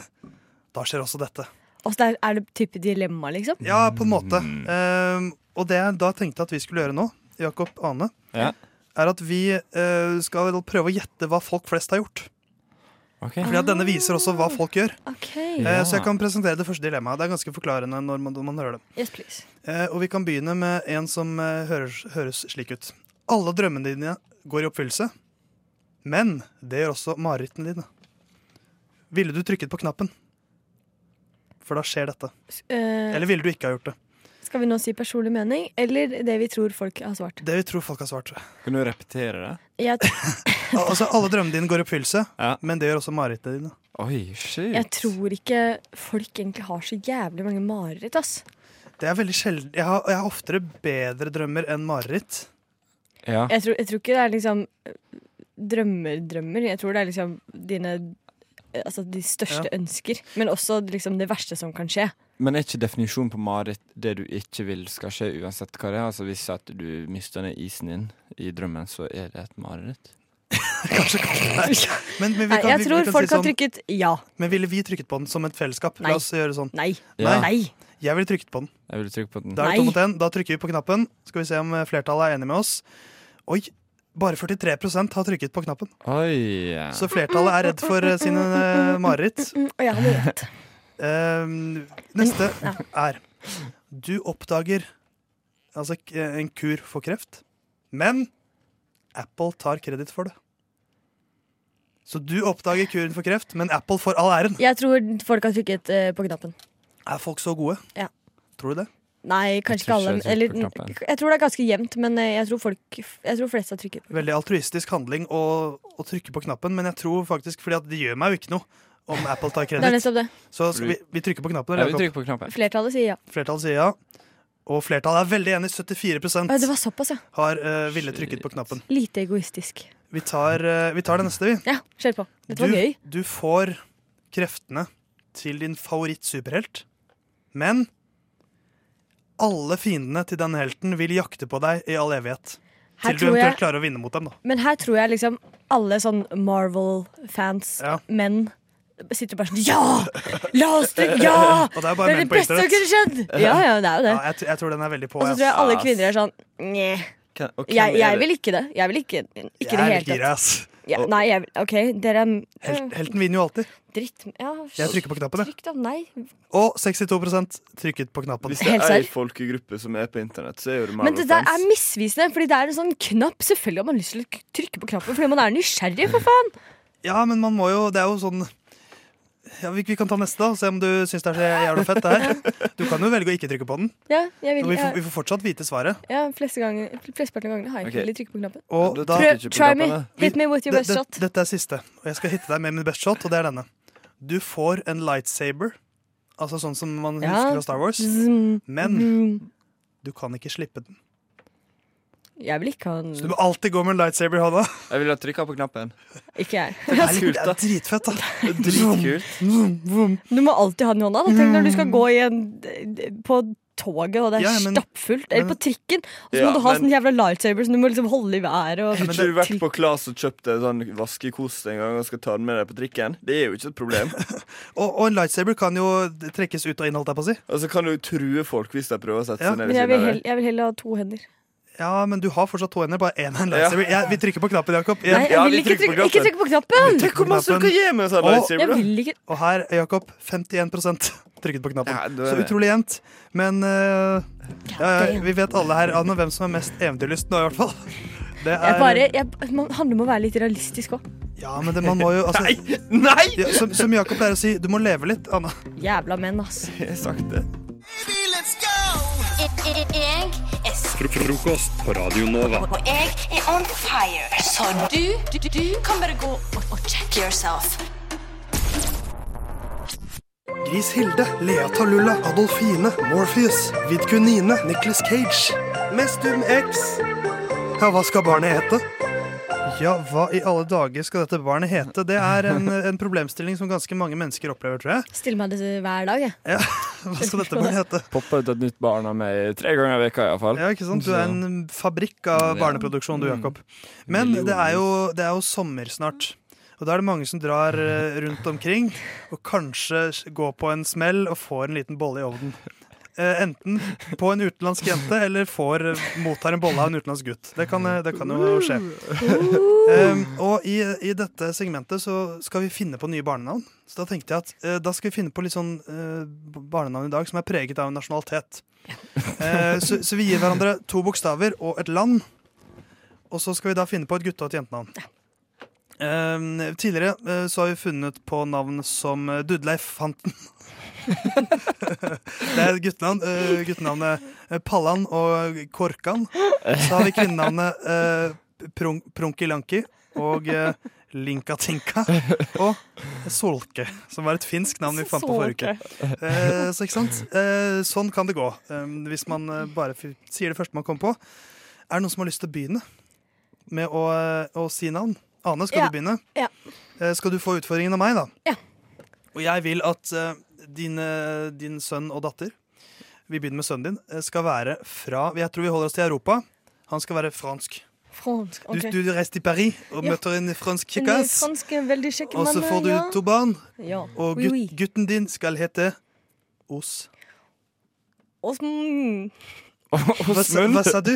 da skjer også dette.
Og så der er det type dilemma, liksom?
Ja, på en måte.
Mm.
Ehm, og det jeg da tenkte at vi skulle gjøre nå, Jakob Ane,
Ja.
er at vi eh, skal prøve å gjette hva folk flest har gjort. Fordi at denne viser også hva folk gjør.
Ok.
Eh, så jeg kan presentere det første dilemmaet. Det er ganske forklarende når man, når man hører det.
Yes, please.
Eh, og vi kan begynne med en som eh, høres, høres slik ut. Alle drømmene dine går i oppfyllelse, men det gjør også marerittene dine. Ville du trykket på knappen? For da skjer dette.
Eh,
Eller ville du ikke ha gjort det?
Skal vi nå si personlig mening, eller det vi tror folk har svart?
Det vi tror folk har svart.
Kan du repetere det?
Jeg,
Al altså, alle drømmene dine går i oppfyllelse, men det gjør også marerittene dine.
Oi, shit.
jeg tror ikke folk egentlig har så jævlig mange mareritt, ass.
Det er veldig sjelden. Jeg har, jeg har oftere bedre drømmer enn mareritt.
Ja.
Jeg tror, jeg tror ikke det er liksom eh, drømmer, drømmer. Jeg tror det er liksom dine eh, Altså de største
Ja.
ønsker, men også liksom det verste som kan skje.
Men er ikke definisjonen på mareritt det du ikke vil skal skje, uansett hva det er? Altså Hvis at du mister ned isen din i drømmen, så er det et mareritt?
Men, men vi
Nei,
kan,
jeg
vi,
tror
vi kan
folk har
si sånn,
trykket ja.
Men ville vi trykket på den som et fellesskap?
Nei.
La oss gjøre sånn.
Nei.
Ja.
Nei.
Jeg ville trykket på den.
Jeg vil trykke på den.
Da er det to mot en. Da trykker vi på knappen. Skal vi se om eh, flertallet er enig med oss. Oi, bare 43 har trykket på knappen.
Oi.
Så flertallet er redd for eh, sine eh, mareritt.
Og jeg hadde rett.
Ehm, neste er Du oppdager altså k- en kur for kreft, men Apple tar kreditt for det. Så du oppdager kuren for kreft, men Apple får all æren.
Jeg tror folk har trykket eh, på knappen.
Er folk så gode?
Ja.
Tror du det?
Nei, kanskje ikke
tror
alle.
ikke jeg
Eller,
har trykket på knappen.
jeg tror det er ganske jevnt, men eh, jeg tror, folk, jeg tror flest har trykket.
Veldig altruistisk handling å, å trykke på knappen, men jeg tror faktisk Fordi at det gjør meg jo ikke noe om Apple tar
Det er
kreditt.
nettopp det.
Så skal vi, vi trykker på knappen.
Ja,
eller,
vi
Jakob?
trykker på knappen.
Flertallet sier ja.
Flertallet sier ja. Og flertallet er veldig enig. 74
Å, Det var såpass, ja.
har uh, ville trykket på knappen.
Lite egoistisk.
Vi tar, eh, vi tar det neste, vi.
Ja, kjør på. Dette
du,
var gøy.
Du får kreftene til din favorittsuperhelt, men alle fiendene til den helten vil jakte på deg i all evighet.
Her
Til du
tror jeg-
eventuelt klarer å vinne mot dem, da.
Men her tror jeg liksom alle sånn Marvel-fans, menn, sitter bare sånn Ja! La oss drikke! Ja!
Og det er bare
det
menn på
beste som kunne
internett.
skjedd! Ja, ja, det er jo det.
Ja, jeg, tr- jeg tror den er veldig på.
Og så
ass.
tror jeg alle kvinner er sånn Nje.
Kan- og hvem
Jeg,
er det-
jeg vil ikke det. Jeg vil ikke, ikke
Jeg
det
er
helt
litt gira, ass.
Ja, nei, jeg, OK, dere er mm.
Helt- Helten vinner jo alltid.
Dritt. Ja,
Jeg trykker på knappen, jeg.
Trykk da, nei.
Og 62 trykket på knappen.
Hvis det er ei folkegruppe som er på internett, så er det
Men
Marvel
det der
fans.
er misvisende, Fordi det er en sånn knapp. Selvfølgelig har man lyst til å k- trykke på knappen fordi man er nysgjerrig, for faen.
Ja, men man må jo Det er jo sånn ja, vi, vi kan ta neste, da. og Se om du syns det er så jævla fett. det her Du kan jo velge å ikke trykke på den.
Ja, jeg
Og
vil
vi, får, vi
jeg-
får fortsatt vite svaret.
ja, fleste ganger, Flesteparten av gangene har jeg ikke
Ok.
villet trykke på knappen.
Og da-
Prøv- try me. Hit me with your
Det-
best
det-
shot.
Dette er siste. Og jeg skal hitte deg med min best shot, og det er denne. Du får en lightsaber, altså sånn som man
Ja. Mm.
husker fra Star Wars,
Zoom.
men du kan ikke slippe den.
Jeg vil ikke ha en
Så du må alltid gå med en lightsaber i hånda.
Jeg ville ha trykka på knappen.
Ikke jeg.
Det er, litt, det er dritfett, da.
Dritkult.
Du må alltid ha den i hånda. Da. Tenk når du skal gå i en, på toget, og det er
Mm. Ja, men-
stappfullt. Eller på trikken, og så må
Ja,
du ha
men-
sånn jævla lightsaber som du må liksom holde i været. Og,
Har ikke du vært på Klas og kjøpt en sånn vaskekos en gang og skal ta den med deg på trikken? Det er jo ikke et problem.
Og, og en lightsaber kan jo trekkes ut og inn, holdt jeg på å
Og
si.
så Altså, kan du true folk hvis de prøver å sette
Ja.
seg ned ved
men jeg vil,
siden av
hell,
deg.
jeg vil heller ha to hender.
Ja, men du har fortsatt to hender. Bare én er en
Ja.
lightsaber. Jeg- vi trykker på knappen, Jakob.
Nei, jeg Ja, vil vi ikke trykker på trykke- ikke knappen.
på knappen!
Tenk hvor masse du kan gi med en sånn
Og-
lightsaber, da. Jeg vil
Og her, Jakob, 51 trykket på knappen.
det er
Så
det.
utrolig jevnt. Men eh, ja, ja, vi vet alle her Anne, hvem som er mest eventyrlysten nå, i hvert fall. Det
Jeg
er
bare, jeg, man handler om å være litt realistisk òg.
Ja, men det, man må jo altså, Nei! Ja, som som Jakob pleier å si, du må leve litt, Anna.
Jævla menn, ass.
Sakte.
E, Jeg er
Frokost på Radio Nova.
og jeg er on fire. Så du, du, du kan bare gå og, og check yourself.
Gris Hilde, Lea Talulla, Adolfine, Morpheus, Vidkunine, Nicholas Cage. Mestum X. Ja, hva skal barnet hete? Ja, hva i alle dager skal dette barnet hete? Det er en, en problemstilling som ganske mange mennesker opplever, tror jeg.
Stiller meg det hver dag, jeg.
Ja, hva skal dette barnet hete?
Popper ut et nytt barn av meg tre ganger i veka i hvert fall.
Ja, ikke sant? Du er en fabrikk av barneproduksjon, du, Jakob. Men det er, jo, det er jo sommer snart. Og da er det mange som drar eh, rundt omkring og kanskje går på en smell og får en liten bolle i ovnen. Eh, enten på en utenlandsk jente eller får, mottar en bolle av en utenlandsk gutt. Det kan, eh, det kan jo skje. Em, og i, i dette segmentet så skal vi finne på nye barnenavn. Så da tenkte jeg at eh, da skal vi finne på litt sånn eh, barnenavn i dag som er preget av en nasjonalitet. Eh, så, så vi gir hverandre to bokstaver og et land. Og så skal vi da finne på et gutte- og et jentenavn. Eh, tidligere eh, så har vi funnet på navn som eh, Dudleif Fanten. det er et guttenavn. Eh, guttenavnet eh, Pallan og Korkan. Så har vi kvinnenavnet eh, Prunk Prunkilanki og eh, Linkatinka. Og Solke, som var et finsk navn vi fant på forrige uke.
Solke.
Eh, så ikke sant? Eh, sånn kan det gå eh, hvis man eh, bare f sier det første man kommer på. Er det noen som har lyst til å begynne med å, eh, å si navn? Ane, skal
Ja.
du begynne?
Ja.
Eh, skal du få utfordringen av meg, da?
Ja.
Og jeg vil at eh, din, eh, din sønn og datter Vi begynner med sønnen din. eh, Skal være fra Jeg tror vi holder oss til Europa. Han skal være fransk.
Fransk.
Du,
ok.
du reiser til Paris og
Ja.
møter en fransk
En
kjekkas.
fransk, veldig kjekk
Og så
mann,
får du
ja.
to barn.
Ja.
Og
Oui,
gut,
oui.
gutten din skal hete Os.
Åsmund.
Hva, sa- hva sa du?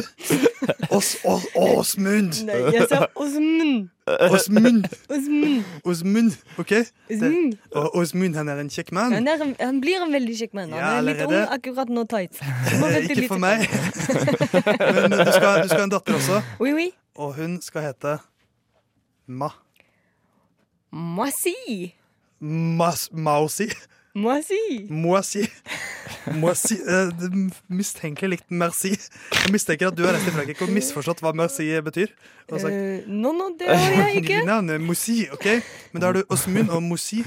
Os, o, Åsmund.
Nei, jeg sa Åsmund.
Åsmund.
Åsmund.
Åsmund. Eh, OK?
Åsmund.
Og Åsmund han er en kjekk mann.
Han, er, en- han blir en veldig kjekk mann. Han
Ja,
er litt ung
allerede.
akkurat nå tight. Du må vente
Ikke
litt.
for meg. Men du skal, du skal ha en datter også,
Oui, oui.
og hun skal hete Ma.
Moissy.
Mas, Mausi.
Moissy.
Moasi. Moasi. Eh, det er mistenkelig likt merci. Jeg mistenker at du har reist til Frankrike og misforstått hva merci betyr. Og sagt,
Eh, no, no, det har jeg ikke.
Navnet Moussi, ok? Men da har du Åsmund og Moussi.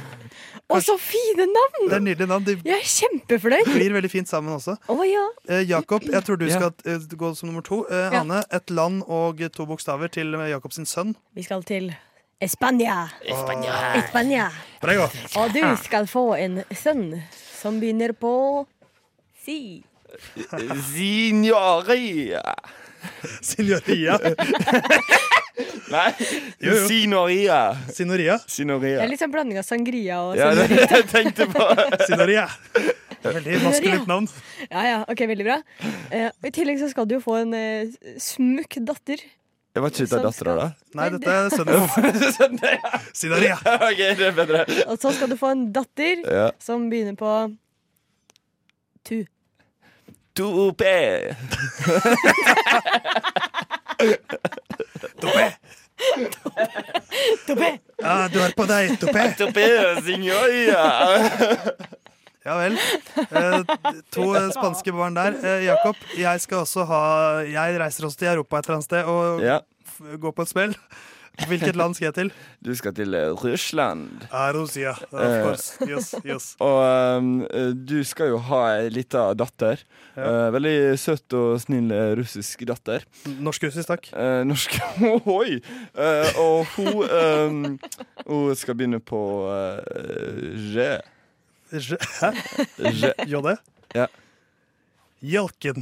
Å, så fine navn!
Det er nydelige navn. De
Jeg er kjempefornøyd.
blir veldig fint sammen også.
Å ja.
Eh, Jakob, jeg tror du
Ja.
skal eh, gå som nummer to. Eh,
Ja.
Anne, et land og to bokstaver til Jakob sin sønn.
Vi skal til Spania. Spania.
Prego.
Og du skal få en sønn som begynner på si.
Signoria.
Signoria.
Nei,
Jo, jo.
Sinoria.
Signoria?
Det
Sinoria.
er litt sånn blanding av sangria og
Ja, det
signorita.
jeg tenkte på.
Sinoria. Veldig
maskulint
navn.
Ja, ja, ok, veldig bra. Eh, og I tillegg så skal du jo få en eh, smukk datter.
Jeg var ikke ute av dattera, da?
Nei, dette er sønnen. Sinoria.
OK, det er bedre.
Og så Altså skal du få en datter
Ja.
som begynner på Tu.
Topé.
Topé.
Ja, du er på deg, Topé.
Topé, signoria.
Ja vel. Eh, to eh, spanske barn der. Eh, Jakob, jeg skal også ha Jeg reiser også til Europa et eller annet sted og
Ja.
f går på et smell. Hvilket land skal jeg til?
Du skal til eh, Russland.
Ah, Rusia, of
Eh,
course. Yes, yes.
Og um, eh, du skal jo ha ei lita datter. Eh, veldig søt og snill eh, russisk datter. Eh,
Norsk-russisk, takk.
norsk Ohoi! Eh, og hun um, Hun skal begynne på uh,
Hæ?
Je. Eh.
JD?
Ja.
Hjelken.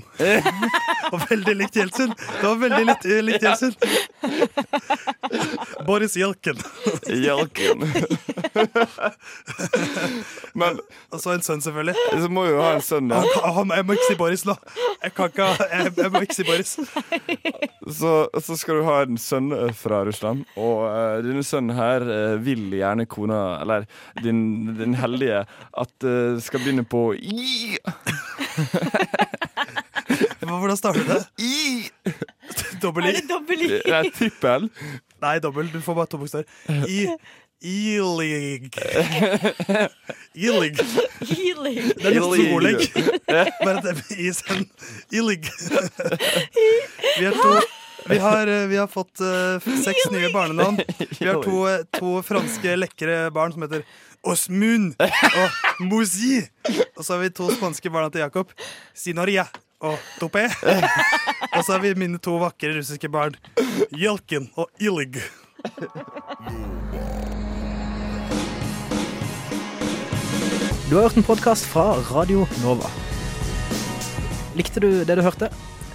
Og veldig likt Jeltsin. Det var veldig likt, likt Jeltsin. Boris Hjelken.
Hjelken. Men
Og så en sønn, selvfølgelig.
Så må jo ha en sønn, da.
Han, han, jeg må ikke si Boris nå. Jeg kan ikke ha- jeg, jeg må ikke si Boris.
Så, så skal du ha en sønn eh, fra Russland, og eh, denne sønnen her eh, vil gjerne kona, eller din, din heldige, at eh, skal begynne på I.
Hva- Hvordan starter det?
I.
Dobbel I.
Er det dobbel I? Det er trippel.
Nei, dobbel. Du får bare to bokstaver. I Ilig. Ilig. Det er litt som ordlegg. Bare at det er i sen. Ilig. Vi er to vi har, eh, vi har fått eh, seks nye barnenavn. Vi har to, eh, to franske lekre barn som heter Osmund og Mousi. Og så har vi to spanske barna til Jakob. Sinoria og Topé. Og så har vi mine to vakre russiske barn. Jelken og Ilig.
Du har hørt en podkast fra Radio Nova. Likte du det du hørte?